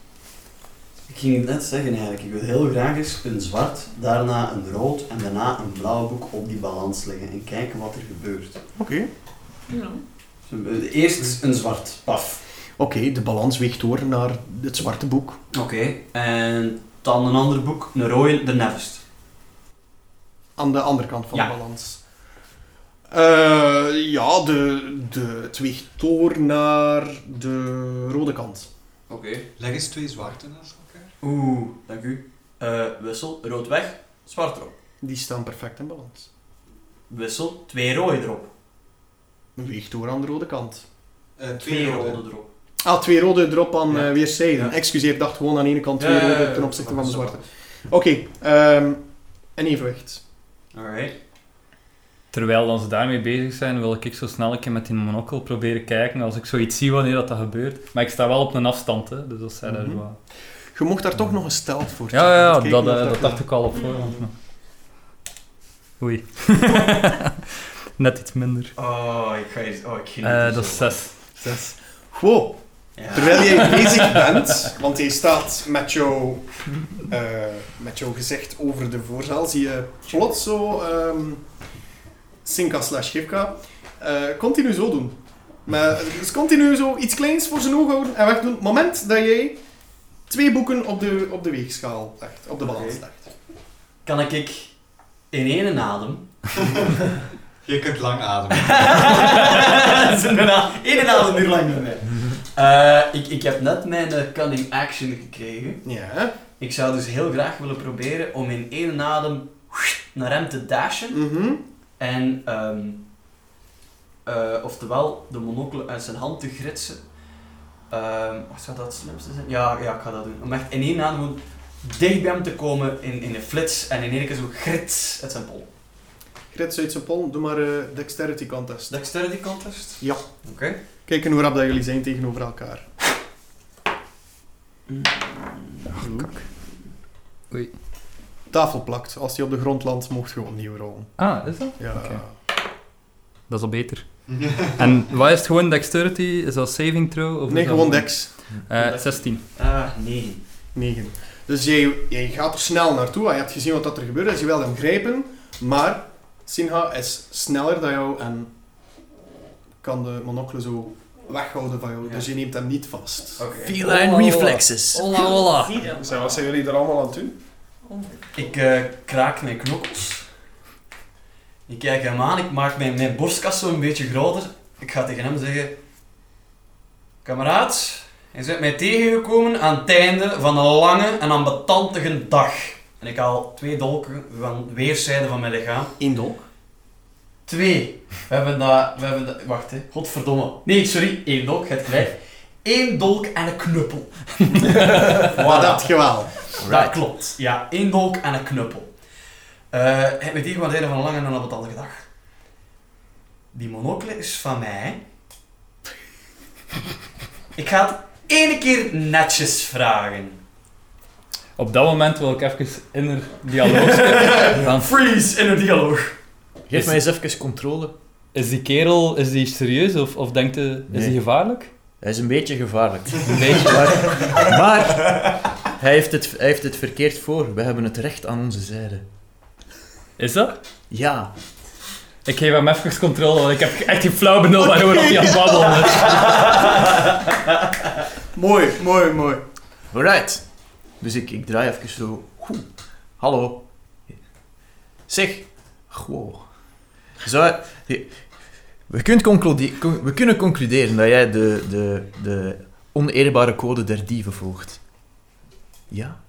Ik ging het net zeggen eigenlijk. Ik wil heel graag eens een zwart, daarna een rood en daarna een blauw boek op die balans leggen en kijken wat er gebeurt. Oké. Hm. Ja. Dus Eerst een zwart, paf. Oké, de balans weegt door naar het zwarte boek. Oké, en dan een ander boek, een rode, de nefst. Aan de andere kant van Ja. de balans. Eh, ja, de, de, het weegt door naar de rode kant. Oké. Leg eens twee zwarte naast elkaar. Oeh, dank u. Eh, wissel, rood weg, zwart erop. Die staan perfect in balans. Wissel, twee rode erop. Weegt door aan de rode kant. Eh, Twee rode erop. Ah, twee rode erop aan Ja. eh, weerszijden. Ja. Excuseer, ik dacht gewoon aan de ene kant twee Ja, ja, ja, rode ja, ten opzichte dat van de is zwarte. wel. Oké, ehm een evenwicht. Alright. Terwijl dan ze daarmee bezig zijn, wil ik zo snel een keer met die monokkel proberen kijken als ik zoiets zie wanneer dat, dat gebeurt. Maar ik sta wel op een afstand, hè, dus dat zijn daar Mhm. wel... Je mocht daar toch nog een stelt voor Ja, ja, ja, Kijken dat, of eh, dat kan. dacht ik al op voorhand. maar- Oei. Net iets minder. Oh, ik ga hier... Oh, ik ging Eh, dat is zes. Zes. Wow, terwijl jij bezig bent, want je staat met jouw, eh, met jouw gezicht over de voorzaal, zie je plots zo ehm Sinka slash Gifka eh, continu zo doen. Maar, dus continu zo iets kleins voor zijn ogen houden en wegdoen. Het moment dat jij twee boeken op de, op de weegschaal legt, op de balans Oké. legt. Kan ik ik in één adem... Je kunt lang ademen. Dat is inderdaad- één adem duurt lang bij mij. Eh, ik, ik heb net mijn eh, cunning action gekregen. Ja. Ik zou dus heel graag willen proberen om in één adem naar hem te dashen. Mhm. En, ehm, eh, oftewel, de monocle uit zijn hand te gritsen. Ehm, wat zou dat het slimste zijn? Ja, ja, ik ga dat doen. Om echt in één adem gewoon dicht bij hem te komen in, in een flits en in één keer zo grits uit zijn pol. Grits uit zijn pol, doe maar eh dexterity contest. Dexterity contest? Ja. Oké. Kijken hoe rap dat jullie zijn tegenover elkaar. Mm. Oei. Tafel plakt. Als die op de grond landt, mocht je opnieuw rollen. Ah, is dat? Ja. Oké. Dat is al beter. en wat is het gewoon dexterity? Is dat saving throw? Of Nee, is dat gewoon dex. Eh, 16. Ah, nee. 9. Dus jij, jij gaat er snel naartoe. Je hebt gezien wat dat er gebeurt. Dus je wil hem grijpen. Maar Sinha is sneller dan jou en kan de monocle zo weghouden van jou. Ja. Dus je neemt hem niet vast. Oké. Feline reflexes. Hola, hola. Zie dat. Zeg, wat zijn jullie er allemaal aan het doen? Oh. Ik eh, kraak mijn knokkels. Ik kijk hem aan, ik maak mijn, mijn borstkas zo een beetje groter. Ik ga tegen hem zeggen... Kameraad, je bent mij tegengekomen aan het einde van een lange en ambetantige dag. En ik haal twee dolken van weerszijden van mijn lichaam. Eén dolk. Twee. We hebben dat... We hebben dat wacht, hè. Godverdomme. Nee, sorry. één dolk, het gelijk. Eén dolk en een knuppel. Maar dat geweld. Dat klopt. Ja, één dolk en een knuppel. Eh, Heb je tegen wat einde van een lange en een betaalde dag. Die monocle is van mij. Ik ga het ene keer netjes vragen. Op dat moment wil ik even in haar dialoog staan. Van, Freeze in een dialoog. Geef Is- mij eens even controle. Is die kerel is die serieus of, of denkt hij, is Nee. die gevaarlijk? Hij is een beetje gevaarlijk. Een beetje. Maar, maar hij, heeft het, hij heeft het verkeerd voor. We hebben het recht aan onze zijde. Is dat? Ja. Ik geef hem even controle, want ik heb echt geen flauw benul waarover dat hij aan het babbelen is. Mooi, mooi, mooi. Alright. Dus ik, ik draai even zo. Oeh. Hallo. Zeg. Goh. Zou, je- we, kunt conclude- con- we kunnen concluderen dat jij de, de, de oneerbare code der dieven volgt. Ja?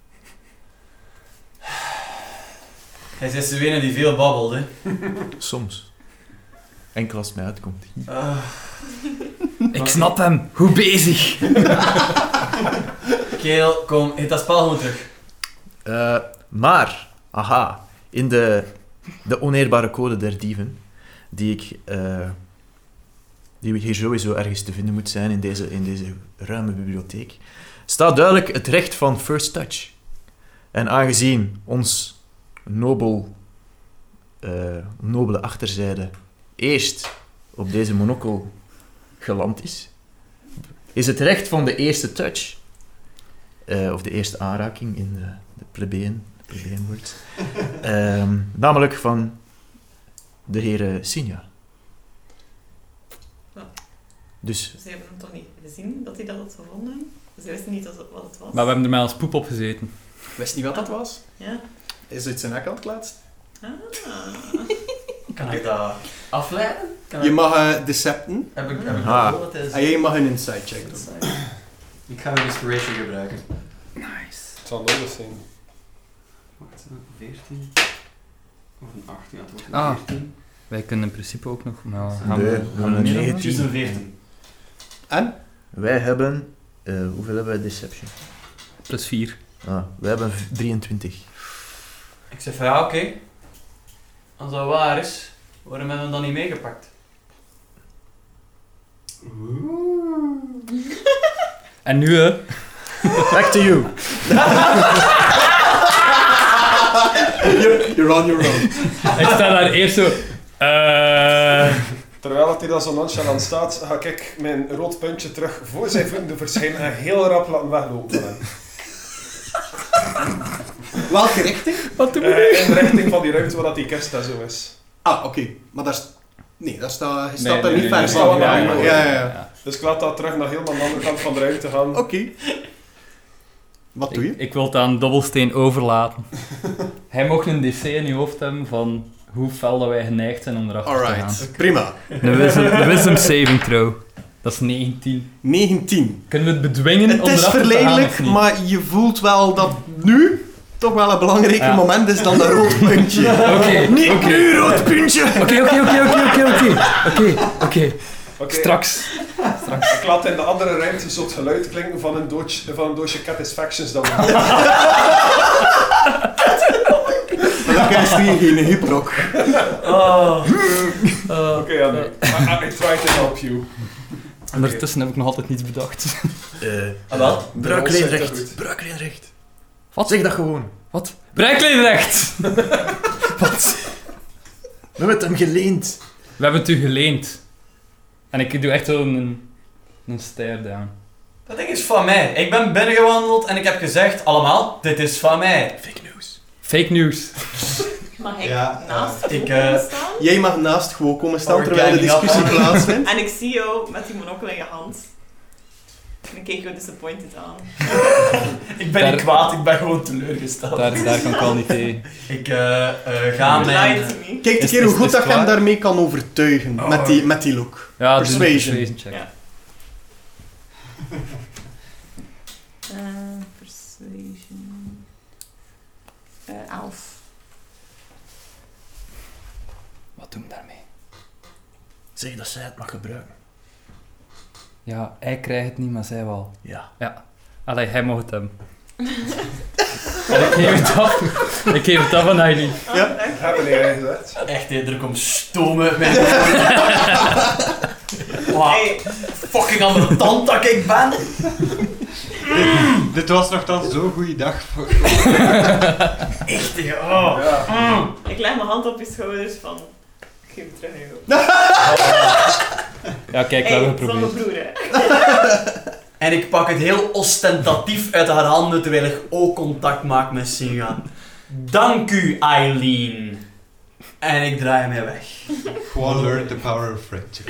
Hij is de ene die veel babbelde. Soms. Enkel als het mij uitkomt. Ah, Ik snap hem. Hoe bezig? Keel, kom, hit dat spel gewoon terug. Eh, maar, aha, in de, de oneerbare code der dieven, die ik eh, die hier sowieso ergens te vinden moet zijn in deze, in deze ruime bibliotheek, staat duidelijk het recht van first touch. En aangezien ons nobel, eh, nobele achterzijde eerst op deze monokkel geland is, is het recht van de eerste touch eh, of de eerste aanraking in de, de plebeen, plebeenwoord. Ehm, namelijk van de heren Sinia. Ja. Dus, Ze hebben hem toch niet gezien dat hij dat had gevonden. Ze wisten niet dat het- wat het was. Maar we hebben er mij als poep op gezeten. Wist niet wat dat was? Ja. Is het zijn nek aan het klaatsen? Ah. Kan ik dat afleiden? Kan Je ik- mag eh, decepten. Heb ik, heb ik Ah. dat het is? En jij mag een insight check doen. Ik ga mijn inspiration gebruiken. Nice. Het zal nodig zijn. Wacht, eh, 14. Of een 8, ja, het wordt een Ah. 14. Wij kunnen in principe ook nog, maar gaan we- Nee, gaan we gaan we niet nee. doen? Het is een 14. wij hebben... eh, hoeveel hebben wij Deception? Plus 4. Ah, wij hebben v- 23. Ik zeg van ja, oké. Als dat waar is, waarom hebben we hem dan niet meegepakt? En nu, hè? Back to you. You're, you're on your own. Ik sta daar eerst zo... eh, Terwijl dat hij daar zo nonchalant staat, ga ik mijn rood puntje terug voor zijn vrienden verschijnen en heel rap laten weglopen. van hem. Welke richting? wat doen we? Eh, in de richting van die ruimte waar dat die kist en zo is. Ah, oké. Maar daar... st- Nee, daar staat... Je staat Nee, daar nee, niet nee, ver nee, van. nee, Ja, nee, ja, nee, ja. Dus ik laat dat terug naar helemaal aan de andere kant van de ruimte gaan. Oké. Wat doe je? Ik, ik wil het aan Dobbelsteen overlaten. Hij mocht een DC in je hoofd hebben van hoe fel dat wij geneigd zijn om erachter te gaan. Alright. Prima. Een wisdom, een wisdom saving throw. Dat is 19. 19. Kunnen we het bedwingen Het om is erachter te gaan of verleidelijk, niet? maar je voelt wel dat nu toch wel een belangrijker Ja. moment is dan dat rood puntje. Oké, Niet oké. nu, rood puntje! Oké, oké, oké, oké, oké, oké. Oké, oké. Oké, Straks. Ik laat in de andere ruimte zo het geluid klinken van een doosje, van een doosje Catisfactions dat we Gelukkig is hier geen hyprock. Oh. Eh, Oké, ja, nee. I, I tried to help you. Ondertussen heb ik nog altijd niets bedacht. Eh Ah, wel. De rol zit Bruikleenrecht. er Bruikleenrecht. Wat? Zeg dat gewoon. Wat? Bruikleenrecht! We hebben het hem geleend. We hebben het u geleend. En ik doe echt zo'n... Een stare down. Dat ding is van mij. Ik ben binnengewandeld en ik heb gezegd, allemaal, dit is van mij. Fake news. Fake news. Mag ik Ja, eh, naast ik, ik, eh, staan? Jij mag naast gewoon komen staan Oh, terwijl de kijk, ja. discussie plaatsvindt. En ik zie jou met die monocle in je hand. En dan keek ik jou disappointed aan. Ik ben Daar- niet kwaad, ik ben gewoon teleurgesteld. Daar, daar kan ik al niet tegen. Ik eh, eh, ga mijn... Lie to me. Kijk een Is- keer is- hoe goed is dat je het hem waar? daarmee kan overtuigen Oh. met, die, met die look. Ja, dus een Persuasion. persuasion check. Ja. Eh, persuasion. Eh, elf. Wat doen we daarmee? Zeg dat zij het mag gebruiken. Ja, hij krijgt het niet, maar zij wel. Ja. Allee, hij mag het hebben. En ik geef het af. Ik geef het af aan Aileen. ja. Hebben jij gezegd? Echt, hè, er komt stoom uit mijn Wow, Hey, fucking andere tand dat ik ben. Dit was nogthans zo'n goede dag voor... Echt, hè, oh. Ja. ik leg mijn hand op je schouders van... Ik geef het terug aan jou. Ja, kijk, we hey, hebben het is van mijn geprobeerd. broer, hè. En ik pak het heel ostentatief uit haar handen terwijl ik ook contact maak met Singa. Dank u, Eileen. En ik draai mij weg. Gewoon learn the power of friendship.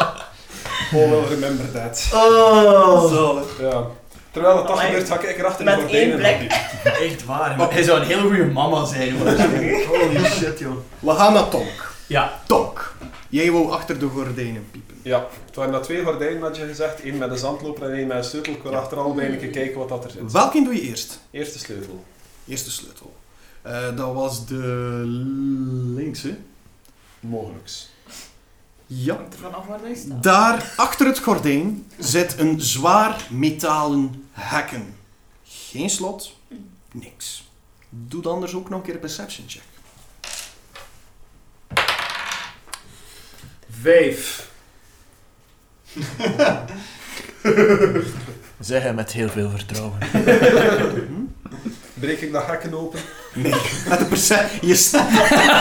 All remember that. Oh. Ja. Terwijl dat dat Amai. gebeurt, hak ik erachter Met die gordijnen één blik. nog niet. Echt waar, maar hij zou een heel goede mama zijn. hoor. Holy shit, joh. We gaan naar Tonk. Ja, Tonk. Jij wou achter de gordijnen piepen. Ja, het waren dat twee gordijnen, had je gezegd. Eén met een zandloper en één met een sleutel. Ik wil achteraf nog een keer kijken wat dat er zit. Welke doe je eerst? Eerste sleutel. Eerste sleutel. Eh, dat was de linkse. Mogelijks. Ja. Hangt er vanaf waar hij staat. Daar achter het gordijn zit een zwaar metalen hekken. Geen slot, niks. Doe dan anders ook nog een keer een perception check. Vijf. Zeg hem met heel veel vertrouwen. Breek ik dat hekken open? Nee, met de perce- je, sta-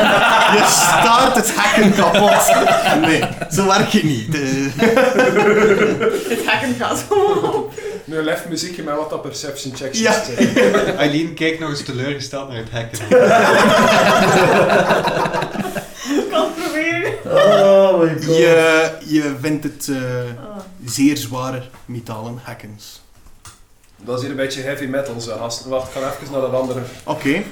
je staart het hekken kapot. Nee, zo werk je niet. Eh, Het hekken gaat gewoon op. Nu lef muziekje met wat dat perception checks Ja. zijn. Eileen kijkt nog eens teleurgesteld naar het hekken. Ik kan het proberen. Oh my je, je vindt het eh, Ah. zeer zware metalen hekkens. Dat is hier een beetje heavy metal, zo. gasten. Wacht, ik ga even naar dat andere. Oké,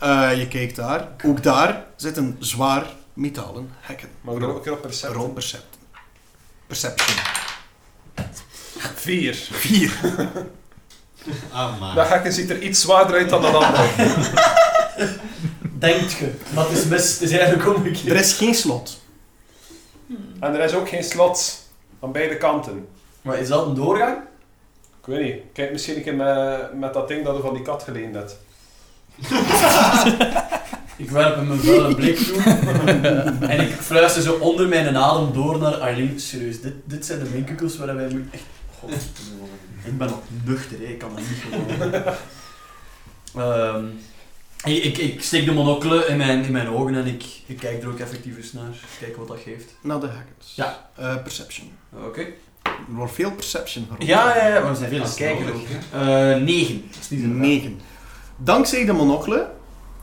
eh, je kijkt daar. Ook daar zit een zwaar metalen hekken. Maar ik wil ook een keer op perception. Rol percepten. Perception. Vier. Vier. Ah, Dat maar. hekken ziet er iets zwaarder uit dan dat andere. Denkt je, dat is mis. Het is eigenlijk Er omgekeerd. is geen slot. En er is ook geen slot. Aan beide kanten. Maar is dat een doorgang? Ik weet niet. Kijk misschien een keer met, met dat ding dat je van die kat geleend hebt. Ik werp hem een vuile blik toe. en ik fluister zo onder mijn adem door naar Eileen. Serieus, dit, dit zijn de winkelkels waar wij moeten... Echt, god, ik ben nog nuchter, hè. ik kan dat niet geloven. Ehm, ik, ik, ik steek de monocle in mijn, in mijn ogen en ik, ik kijk er ook effectief eens naar. Kijken wat dat geeft. Naar de hekkens. Ja. Eh, perception. Oké. Er wordt veel perception gerold. Ja, ja, ja, maar we zijn veel aan het Dat is kijken ook. nodig, hè. Eh, negen. Dat is niet zo raar. 9. Dankzij de monocle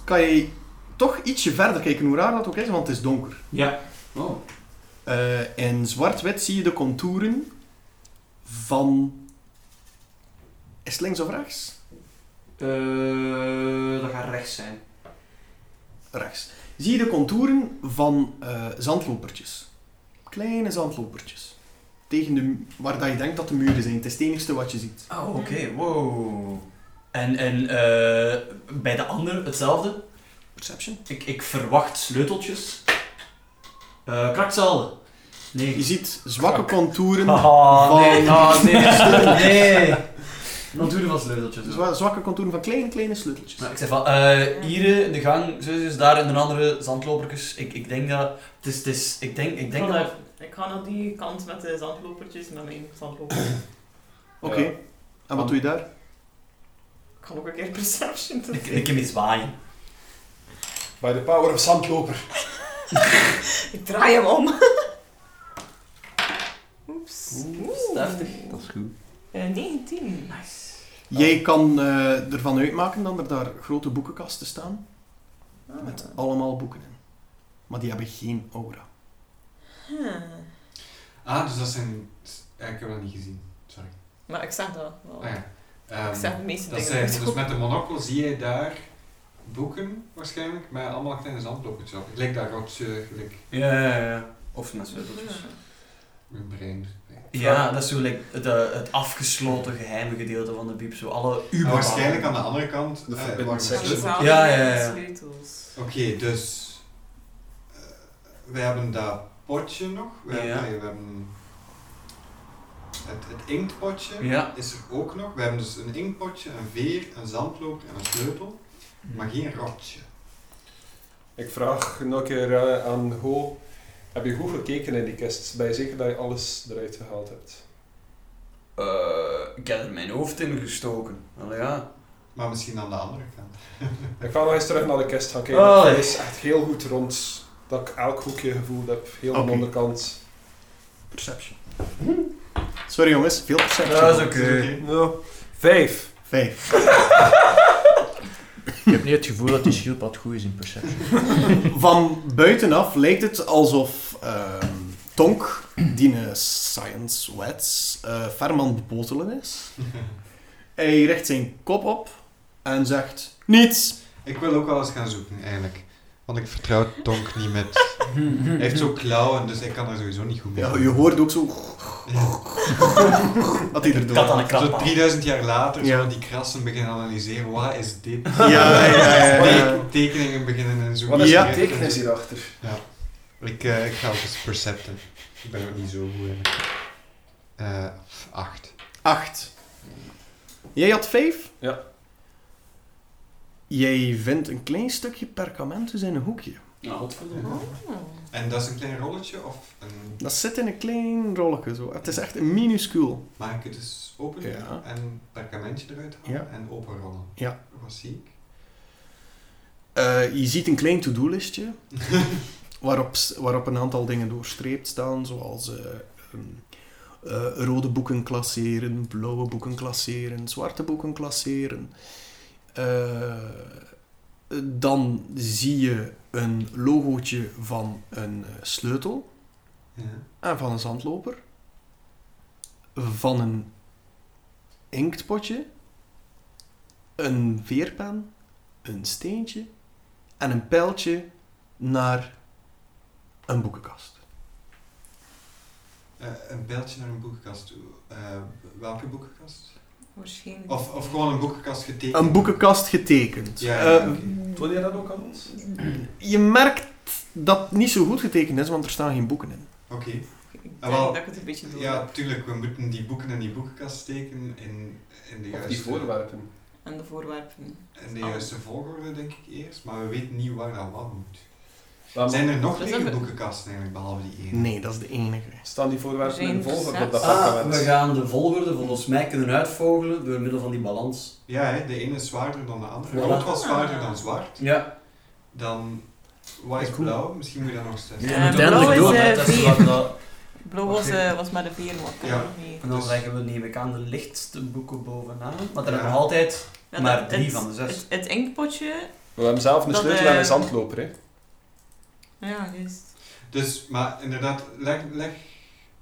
kan je toch ietsje verder kijken, hoe raar dat ook is, want het is donker. Ja. Oh. Eh, in zwart-wit zie je de contouren van... Is het links of rechts? Eh, dat gaat rechts zijn. Rechts. Zie je de contouren van eh, zandlopertjes. Kleine zandlopertjes. Tegen de, mu- waar dat je denkt dat de muren zijn. Het is het enigste wat je ziet. Oh, oké, wow. En, en eh, bij de ander hetzelfde. Perception. Ik, ik verwacht sleuteltjes. Eh krak hetzelfde. Nee. Je ziet zwakke contouren... Haha, nee, van- ah, nee, sleutel- nee. Natuurlijk was sleuteltjes. hoor. zwa- Zwakke contouren van kleine, kleine sleuteltjes. Nou, ik zeg van, eh hier in de gang, zo is daar en de andere zandlopertjes. Ik, ik denk dat, het is, het is, ik denk, ik denk dat... Voilà. Ik ga naar die kant met de zandlopertjes, met mijn zandloper. Oké. Ja. En wat doe je daar? Ik ga ook een keer perception doen. Ik, ik heb iets waaien. Bij de power of zandloper. Ik draai hem om. Oeps. Deftig. Dat is goed. Eh, 19. Nice. Jij kan eh, ervan uitmaken dat er daar grote boekenkasten staan. Ah. Met allemaal boeken in. Maar die hebben geen aura. Huh. Ah, dus dat zijn... eh, Ik heb dat niet gezien. Sorry. Maar ik zeg dat wel. Ah, ja. Ehm, ik zeg de meeste dat dingen. zijn, niet dus goed. met de monocle zie je daar boeken waarschijnlijk, maar allemaal kleine zandlopertjes op. Ik lijk daar rotje, gelijk Ja, ja, ja. Of met sleuteltjes. mijn brein. Ja, dat is zo like, de, het afgesloten geheime gedeelte van de biep. Zo alle Maar uber waarschijnlijk aan de andere kant... De eh, verbinding wacht, Ja, section. wacht, dus wacht. wel Ja, ja, ja. de Sleutels. Oké, dus... eh, we hebben dat potje nog. We, Ja. hebben, nee, we hebben het, het inktpotje Ja. is er ook nog. We hebben dus een inktpotje, een veer, een zandloper en een sleutel, maar geen rotje. Ik vraag nog een keer eh, aan Ho. Heb je goed gekeken in die kist? Ben je zeker dat je alles eruit gehaald hebt? Eh, ik heb er mijn hoofd in gestoken. Wel ja. Maar misschien aan de andere kant. Ik ga nog eens terug naar de kist gaan kijken. Allee. Het is echt heel goed rond. Dat ik elk hoekje gevoeld heb. Heel aan de Oké. onderkant. Perception. Sorry jongens, veel perception. Dat is oké. Nou, vijf. Vijf. Ik heb niet het gevoel dat die schildpad goed is in perception. Van buitenaf lijkt het alsof ehm, Tonk, die een science wets, eh ferm aan het bepotelen is. Hij richt zijn kop op en zegt niets. Ik wil ook wel eens gaan zoeken eigenlijk. Want ik vertrouw Tonk niet met. Hij heeft zo klauwen, dus ik kan er sowieso niet goed mee. Ja, om. je hoort ook zo dat hij erdoor Kat aan de Zo krap. 3000 jaar later, Ja. zo die krassen beginnen analyseren. Wat is dit? Ja, ja, ja, ja, ja. Teken- Tekeningen beginnen en zo. Wat is Ja. de tekenis hierachter? Ik, eh, ik ga ook eens percepten. Ik ben ook niet zo goed in. Eh, acht. Acht. Jij had vijf? Ja. Jij vindt een klein stukje perkament dus in een hoekje. Ja, godverdomme. Mhm. Oh, En dat is een klein rolletje of een... Dat zit in een klein rolletje zo. Het is echt een minuscuul. Maak het dus open Ja. en perkamentje eruit halen Ja. en openrollen. Ja. Wat zie ik? Eh, je ziet een klein to-do-listje waarop, s- waarop een aantal dingen doorstreept staan, zoals eh, um, eh, rode boeken klasseren, blauwe boeken klasseren, zwarte boeken klasseren. Eh, dan zie je een logootje van een eh, sleutel. Ja. En van een zandloper. Van een inktpotje. Een veerpen. Een steentje. En een pijltje naar een boekenkast. Eh, een pijltje naar een boekenkast toe. Eh, welke boekenkast? Waarschijnlijk. Of, of gewoon een boekenkast getekend? Een boekenkast getekend. Ja, Eh, ja, oké. Toon jij dat ook aan ons? je merkt dat het niet zo goed getekend is, want er staan geen boeken in. Oké. Ik denk Ah, wel. dat ik het een beetje door Ja, heb. tuurlijk. We moeten die boeken in die boekenkast steken in, in de Of die juiste... voorwerpen? En de voorwerpen. in de juiste volgorde, denk ik eerst. Maar we weten niet waar dat wat moet. Waarom Zijn er nog Dat is lege een- boekenkasten eigenlijk, behalve die ene? Nee, dat is de enige. Staan die voorwerpen in Zijn volgorde zes. op dat Ah, perkament? we gaan de volgorde volgens mij kunnen uitvogelen door middel van die balans. Ja, hè, de ene is zwaarder dan de andere. Voilà. Rood was zwaarder dan zwart. Ja. Dan, wat is blauw? Misschien moet je dat nog eens testen. Ja, Ja, uiteindelijk blauw door. is, eh, Dat is wat vier. dat- Blauw was, eh, was met een veer, wat kan Ja. er mee? En dan Dus- leggen we, neem ik aan, de lichtste boeken bovenaan. Want er Ja. hebben we altijd... Ja, Maar dat- drie het- van de zes. Het, het inktpotje, We hebben zelf een Dat, sleutel en een eh, zandloper, hè? ja, juist. Dus, maar inderdaad, leg, leg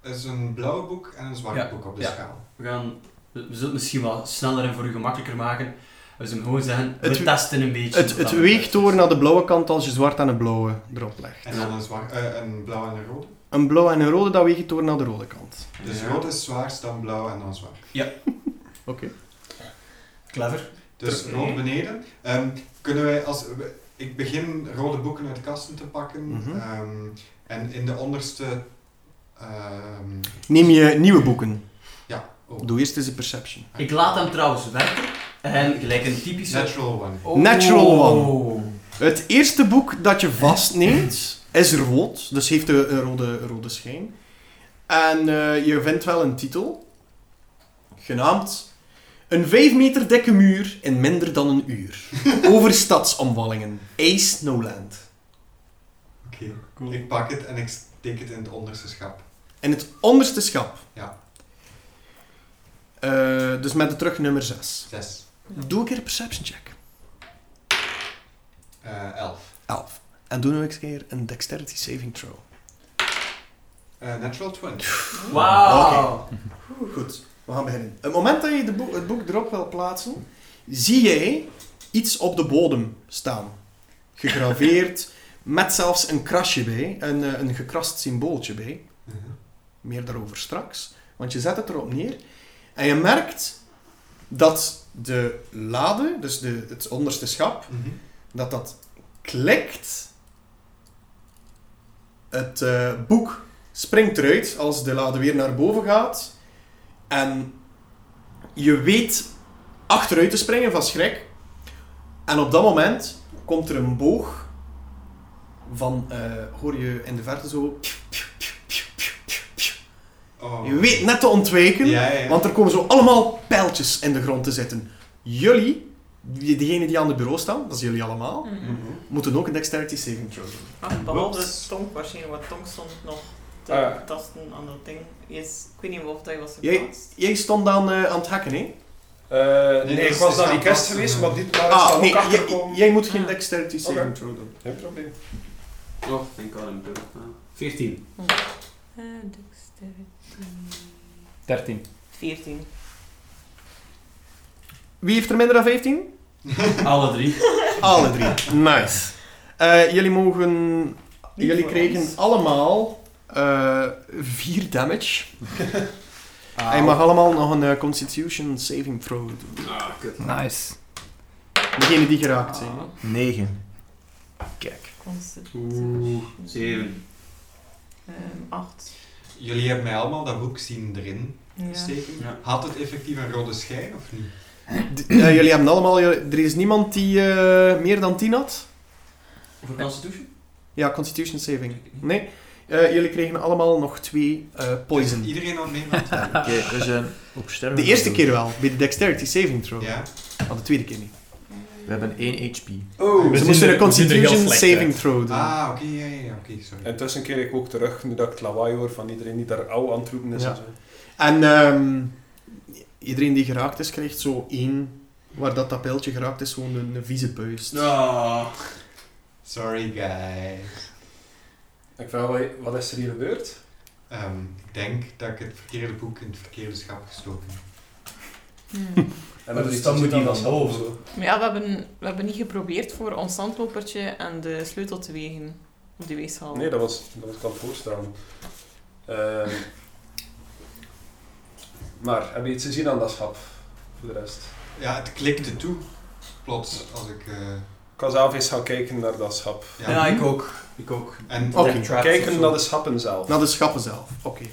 eens een blauw boek en een zwart Ja, boek op de ja. schaal. We gaan... We zullen het misschien wat sneller en voor u gemakkelijker maken. We zullen gewoon zeggen, we Het- testen een beetje. Het, het weegt door naar de blauwe kant als je zwart aan een blauwe erop legt. En dan een, zwart, eh, een blauw en een rode. Een blauw en een rode, dat weegt door naar de rode kant. Dus Ja. rood is zwaarst, dan blauw en dan zwart. Oké. Clever. Dus Oké. rood beneden. Ehm, kunnen wij als... we- Ik begin rode boeken uit kasten te pakken. Mhm. ehm, en in de onderste... ehm, Neem je nieuwe boeken. ja, oh. Doe eerst eens een perception. Ik laat hem trouwens werken. En gelijk een typische... Natural one. Oh. Natural one. Het eerste boek dat je vastneemt is rood, dus heeft een, een rode, een rode schijn. En eh, je vindt wel een titel, genaamd Een 5 meter dikke muur in minder dan een uur. Over stadsomwallingen. Ace Snowland. Oké. Ik pak het en ik steek het in het onderste schap. In het onderste schap. Ja. Eh, dus met de terug nummer 6. Zes. Doe een keer een perception check. Eh, elf. 11. En doe nu eens een keer een dexterity saving throw. Eh, natural twenty. Wauw. Goed, we gaan beginnen. Het moment dat je de boek, het boek erop wil plaatsen, zie jij iets op de bodem staan. Gegraveerd, met zelfs een krasje bij, een, eh, een gekrast symbooltje bij. Mhm. Meer daarover straks, want je zet het erop neer. En je merkt dat de lade, dus de, het onderste schap, Mhm. dat dat klikt. Het eh, boek springt eruit als de lade weer naar boven gaat. En je weet achteruit te springen van schrik. En op dat moment komt er een boog van, eh, hoor je in de verte zo... Oh. Je weet net te ontwijken. Ja, ja, ja. Want er komen zo allemaal pijltjes in de grond te zitten. Jullie, die- diegenen die aan het bureau staan, dat zijn jullie Oh. allemaal, Mm. Mhm. Mhm. moeten ook een dexterity saving throw doen. Maar behalve dus- Whoops. Tonk waarschijnlijk, want Tonk stond nog te Ah, ja. tasten aan dat ding. Yes, ik weet niet of dat was Jij- geplaatst. Jij stond dan eh, aan het hacken, hè? Eh, nee, Nee, dat ik is- was is dan aan die kerst vast, geweest, eh, maar dit daar is Ah, dan nee, ook jij, achterkomen. jij moet geen Ah. dexterity saving Oké. throw doen. Geen probleem. Oh, ik kan hem doen. Ja. 14. Eh, dus. 13. 14. Wie heeft er minder dan 15? Alle drie. Alle drie. Nice. Eh, jullie mogen... Niet jullie voor kregen ons. allemaal 4 damage. En je mag allemaal nog een eh, constitution saving throw doen. Ah, kut. Nice. Degene die geraakt zijn. Ah. 9. Kijk. Oeh, 7. 8. Jullie hebben mij allemaal dat boek zien erin Ja. steken. Ja. Had het effectief een rode schijn of niet? D- eh, jullie hebben allemaal... jullie- Er is niemand die eh, meer dan 10 had? Voor Constitution? Ja, constitution saving. Nee. Eh, jullie kregen allemaal nog 2 poison. Iedereen had meegemaakt? Oké, we zijn op sterven. De eerste keer wel, bij de dexterity saving throw. ja. Maar de tweede keer niet. We hebben 1 HP. We Ze zien moesten een er- we zien er heel constitution slecht saving uit. throw doen. Ah, oké, ja, ja, ja, oké, sorry. Intussen keer ik ook terug, nu dat ik het lawaai hoor van iedereen die daar ouw aan het roepen is Ja. en zo. En ehm, iedereen die geraakt is, krijgt zo één... Waar dat, dat pijltje geraakt is, gewoon een, een vieze puist. Ja. Ah. Sorry, guys. Ik vraag, wat- wat is er hier gebeurd? Ehm, ik denk dat ik het verkeerde boek in het verkeerde schap gestoken heb. Hmm. En Maar dus iets dan te moet zien die aan van de hand boven. of zo. Maar ja, we hebben, we hebben niet geprobeerd voor ons zandlopertje en de sleutel te wegen op die weeshal. Nee, dat was, dat was ik aan het voorstellen. Ehm, maar, heb je iets te zien aan dat schap? Voor de rest. Ja, het klikte toe. Plots, als ik... eh, Ik kan zelf eens gaan kijken naar dat schap. ja. Ja, ik ook. Ik ook. En Oké. Trapped of Kijken zo. naar de schappen zelf. Naar de schappen zelf. Oké.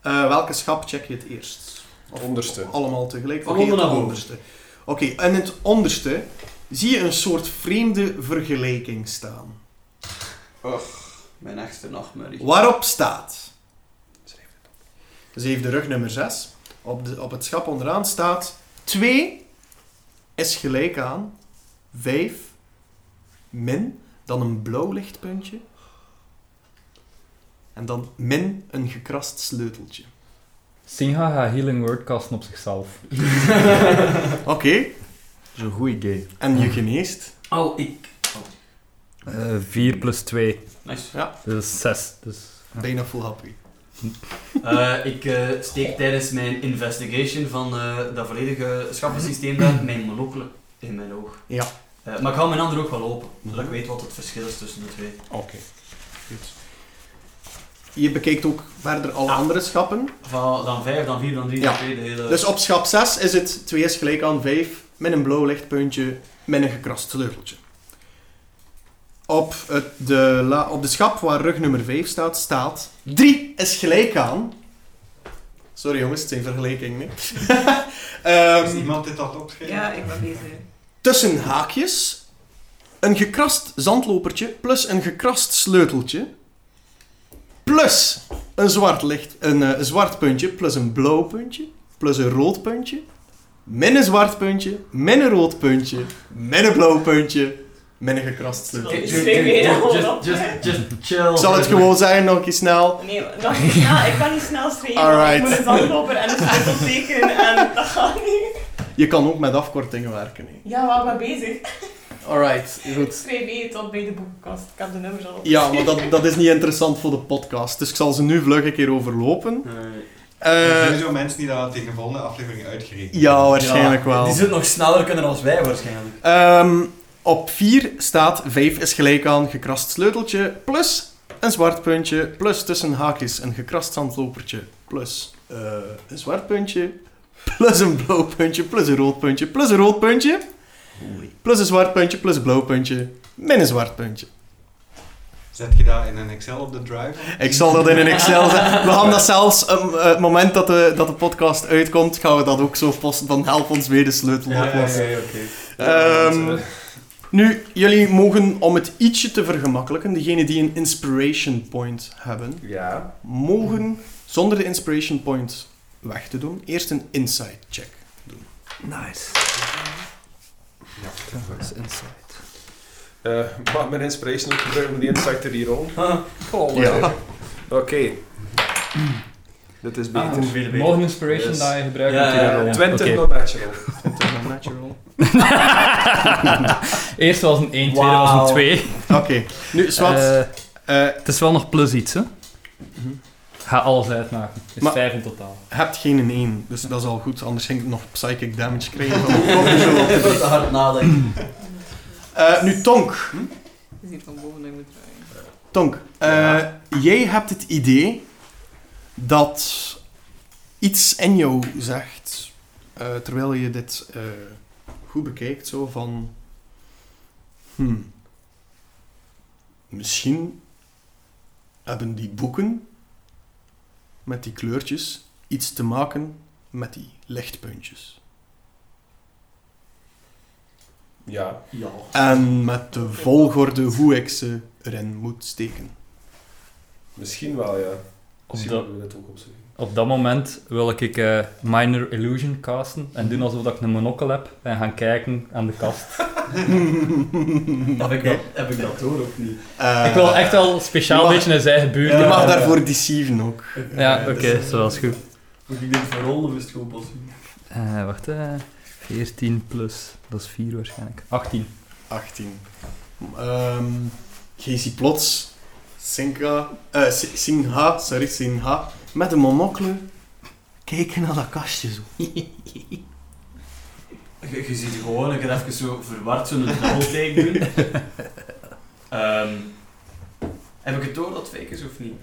Eh, welke schap check je het eerst? Of Onderste. Allemaal tegelijk. Van Oké, onder het naar boven. onderste. Oké, en het onderste zie je een soort vreemde vergelijking staan. Mijn echte nachtmerrie. Waarop staat... Dus heeft de rug nummer 6. Op, de, op het schap onderaan staat 2 is gelijk aan 5 min dan een blauw lichtpuntje. En dan min een gekrast sleuteltje. Singha gaat Healing Word casten op zichzelf. Oké, Dat is een goed idee. en je geneest. Oh, ik. 4 Eh, plus 2, Nice. dus 6. Dus... Bijna full happy. Eh, ik eh, steek tijdens mijn investigation van eh, dat volledige schappensysteem daar mijn monocle in mijn oog. Ja. Eh, maar ik hou mijn andere oog wel open, zodat ik weet wat het verschil is tussen de twee. Oké. Goed. Je bekijkt ook verder alle Ah. andere schappen. Van dan 5, dan 4, dan 3, Ja. dan 2, de hele... Dus op schap 6 is het 2 is gelijk aan 5 met een blauw lichtpuntje met een gekrast sleuteltje. Op, het, de, la- op de schap waar rug nummer 5 staat, staat 3 is gelijk aan. Sorry jongens, het zijn vergelijkingen. hè. Ehm, is iemand dit had opgeschreven? Ja, ik ben bezig. tussen haakjes een gekrast zandlopertje plus een gekrast sleuteltje plus een zwart, licht, een, eh, zwart puntje plus een blauw puntje plus een rood puntje min een zwart puntje min een rood puntje min een blauw puntje min een gekrast sleuteltje. Ju- ju- Ik ju- steek ju- mijn oog just- op. just- just chill. Ik zal het gewoon zeggen, nog een keer snel. Oh, Nee, dat is snel. Ik kan niet snel schrijven. Alright. Ik moet een zandloper en een sleutel tekenen en dat gaat niet. Je kan ook met afkortingen werken. hè. Ja, waar ben ik bezig? Alright, Ik goed. schrijf mee tot bij de boekenkast. Ik heb de nummers al. Ja, maar dat, dat is niet interessant voor de podcast, dus ik zal ze nu vlug een keer overlopen. Eh, Er zijn Eh, sowieso mensen die dat hadden tegen de volgende aflevering uitgerekend. ja, waarschijnlijk ja, wel. Die zullen nog sneller kunnen dan wij waarschijnlijk. Ehm, op 4 staat 5 is gelijk aan gekrast sleuteltje plus een zwart puntje plus tussen haakjes een gekrast zandlopertje plus eh, een zwart puntje plus een blauw puntje plus een rood puntje plus een rood puntje plus een zwart puntje plus een blauw puntje min een zwart puntje. Zet je dat in een Excel op de drive? Ik zal dat in een Excel zetten. We gaan dat zelfs, um, eh, het moment dat de, dat de podcast uitkomt, gaan we dat ook zo posten van help ons weer de sleutel oplossen. Ehm, nu, jullie mogen, om het ietsje te vergemakkelijken, degenen die een inspiration point hebben, Ja. mogen zonder de inspiration point weg te doen, eerst een insight check. Nice. insight. Eh, mag ik mijn inspiration ook gebruiken om die insight te rerollen? Ja. Oké. Dit is beter. Ah, veel beter. Mogen inspiration Yes. dat je gebruikt Ja, om te ja, ja. rollen. 20 Oké. no natural. Natural. Eerst was een 1, tweede was Wauw. een 2. Oké, nu, Swat. Eh, eh, het is wel nog plus iets, hè? Mhm. Ga alles uitmaken. Het is Maar- 5 in totaal. Je hebt geen in één, dus dat is al goed. Anders ging ik nog psychic damage krijgen. van de cortisol. Ik moet te hard nadenken. Eh, nu, Tonk. Hm? Het is hier van boven dat ik moet draaien. Tonk, eh, Ja. jij hebt het idee dat iets in jou zegt, eh, terwijl je dit eh, goed bekijkt, zo van... Hmm, misschien hebben die boeken met die kleurtjes iets te maken met die lichtpuntjes. Ja. Ja. En met de volgorde hoe ik ze erin moet steken. Misschien wel, ja. Misschien dat- moeten we dit ook opschrijven. Op dat moment wil ik eh, Minor Illusion casten en doen alsof dat ik een monocle heb en gaan kijken aan de kast. Heb ik, dat, heb ik dat door of niet? Eh, ik wil echt wel speciaal je mag- een beetje in zijn eigen buurt. Je gaan. mag daarvoor deceiven ook. Ja, Eh, oké, dus- zo dat is goed. Moet ik dit verrollen of is het gewoon pas? Eh, wacht, eh 14 plus, dat is 4 waarschijnlijk. 18. 18. Ehm je ziet plots Sinka, eh, Si- Singha, sorry, Singha, met een monocle kijken naar dat kastje zo. Je, je ziet gewoon, ik heb even zo verward zo'n dubbelteken doen. Ehm, heb ik het door dat fake is of niet?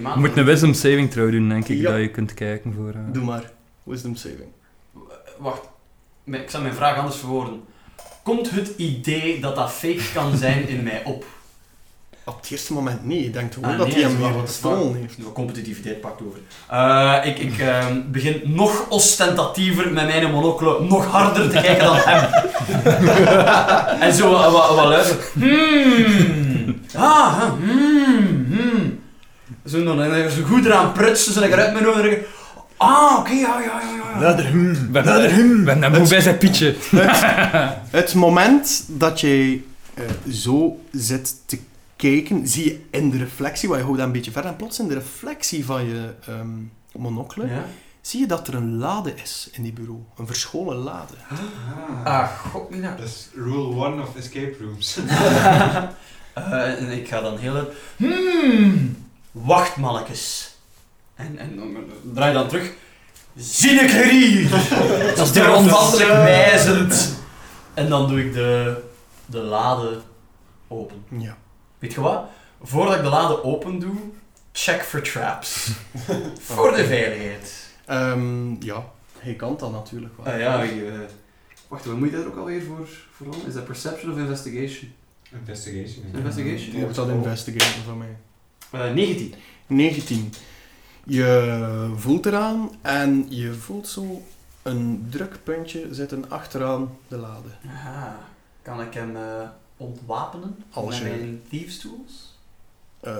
Je maand- moet een wisdom saving throw doen, denk ik, Ja. dat je kunt kijken voor... eh, Doe maar. Wisdom saving. W- Wacht, mijn- ik zal mijn vraag anders verwoorden. Komt het idee dat dat fake kan zijn in mij op? Op het eerste moment niet. Je denkt gewoon Ah, dat nee, hij dat hem is wel weer wat gestolen Ik heeft. doe een competitiviteit pakt over. Eh, ik ik ehm, begin nog ostentatiever met mijn monocle nog harder te kijken dan hem. en zo wat, wat, wat luisteren. Hmm. Ah, ah, hmm, hmm. Zo, dan, en dan zo goed eraan prutsen, zo lekker uit mijn ogen. en ik- Ah, oké, ja, ja, ja, ja, ja. hem. Ben, ben, ben, ben bij zijn pietje. Het moment dat jij eh, zo zit te kijken, zie je in de reflectie, want je houdt dat een beetje ver, en plots in de reflectie van je ehm monocle, Ja. zie je dat er een lade is in die bureau. Een verscholen lade. Ah, god, mina. Dat is rule 1 of escape rooms. Eh, en ik ga dan heel erg... Hmm, wacht mannetjes. En, en dan eh, draai dan terug. Zie ik er hier? Dat is de onvatelijk wijzend. En dan doe ik de, de lade open. Ja. Weet je wat? Voordat ik de lade open doe, check for traps. Voor de veiligheid. Ehm, ja, hij kan dat natuurlijk wel. Ah ja, ik, eh, wacht, wat moet je daar ook alweer voor, voor rollen? Is dat perception of investigation? Investigation. Investigation? Je moet dat investigeren van mij. Eh, 19. 19. Je voelt eraan en je voelt zo een drukpuntje zitten achteraan de lade. Aha. Ah, Kan ik hem eh, ontwapenen Als met je- mijn thieves tools? Eh,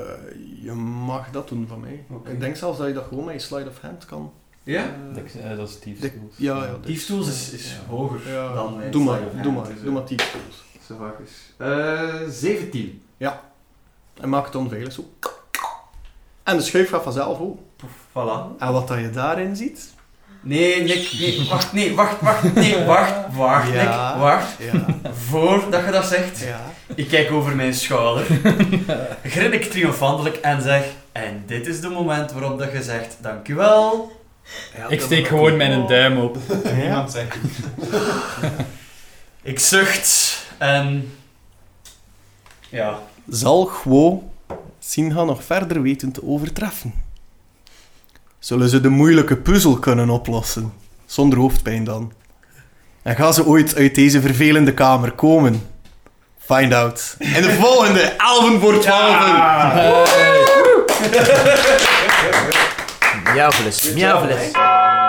je mag dat doen van mij. Oké. Ik denk zelfs dat je dat gewoon met je slide of hand kan. Ja? Eh, dat is Steve Dik- ja, ja. Thieves tools is, is Ja. hoger Ja, dan mijn doe slide of maar, hand, doe maar, dus, doe maar eh, tien tools. Zo vaak is. Eh, 17. En maak het onveilig zo. En de schuif gaat vanzelf open. Voilà. En wat dat je daarin ziet, Nee, Nick, nee, wacht, nee, wacht, wacht, nee, wacht, wacht, Ja. Nick, wacht. ja, Voordat je dat zegt, ja. ik kijk over mijn schouder, grin ik triomfantelijk en zeg, en dit is de moment waarop dat je zegt, dankjewel. Ik steek gewoon mijn duim op. Niemand zegt iets. Ik zucht en... Ja. Zal Gwo Sinha nog verder weten te overtreffen? Zullen ze de moeilijke puzzel kunnen oplossen? Zonder hoofdpijn dan. En gaan ze ooit uit deze vervelende kamer komen? Find out. In de volgende, Alven voor 12. Miauwles, miauwles. Dankjewel.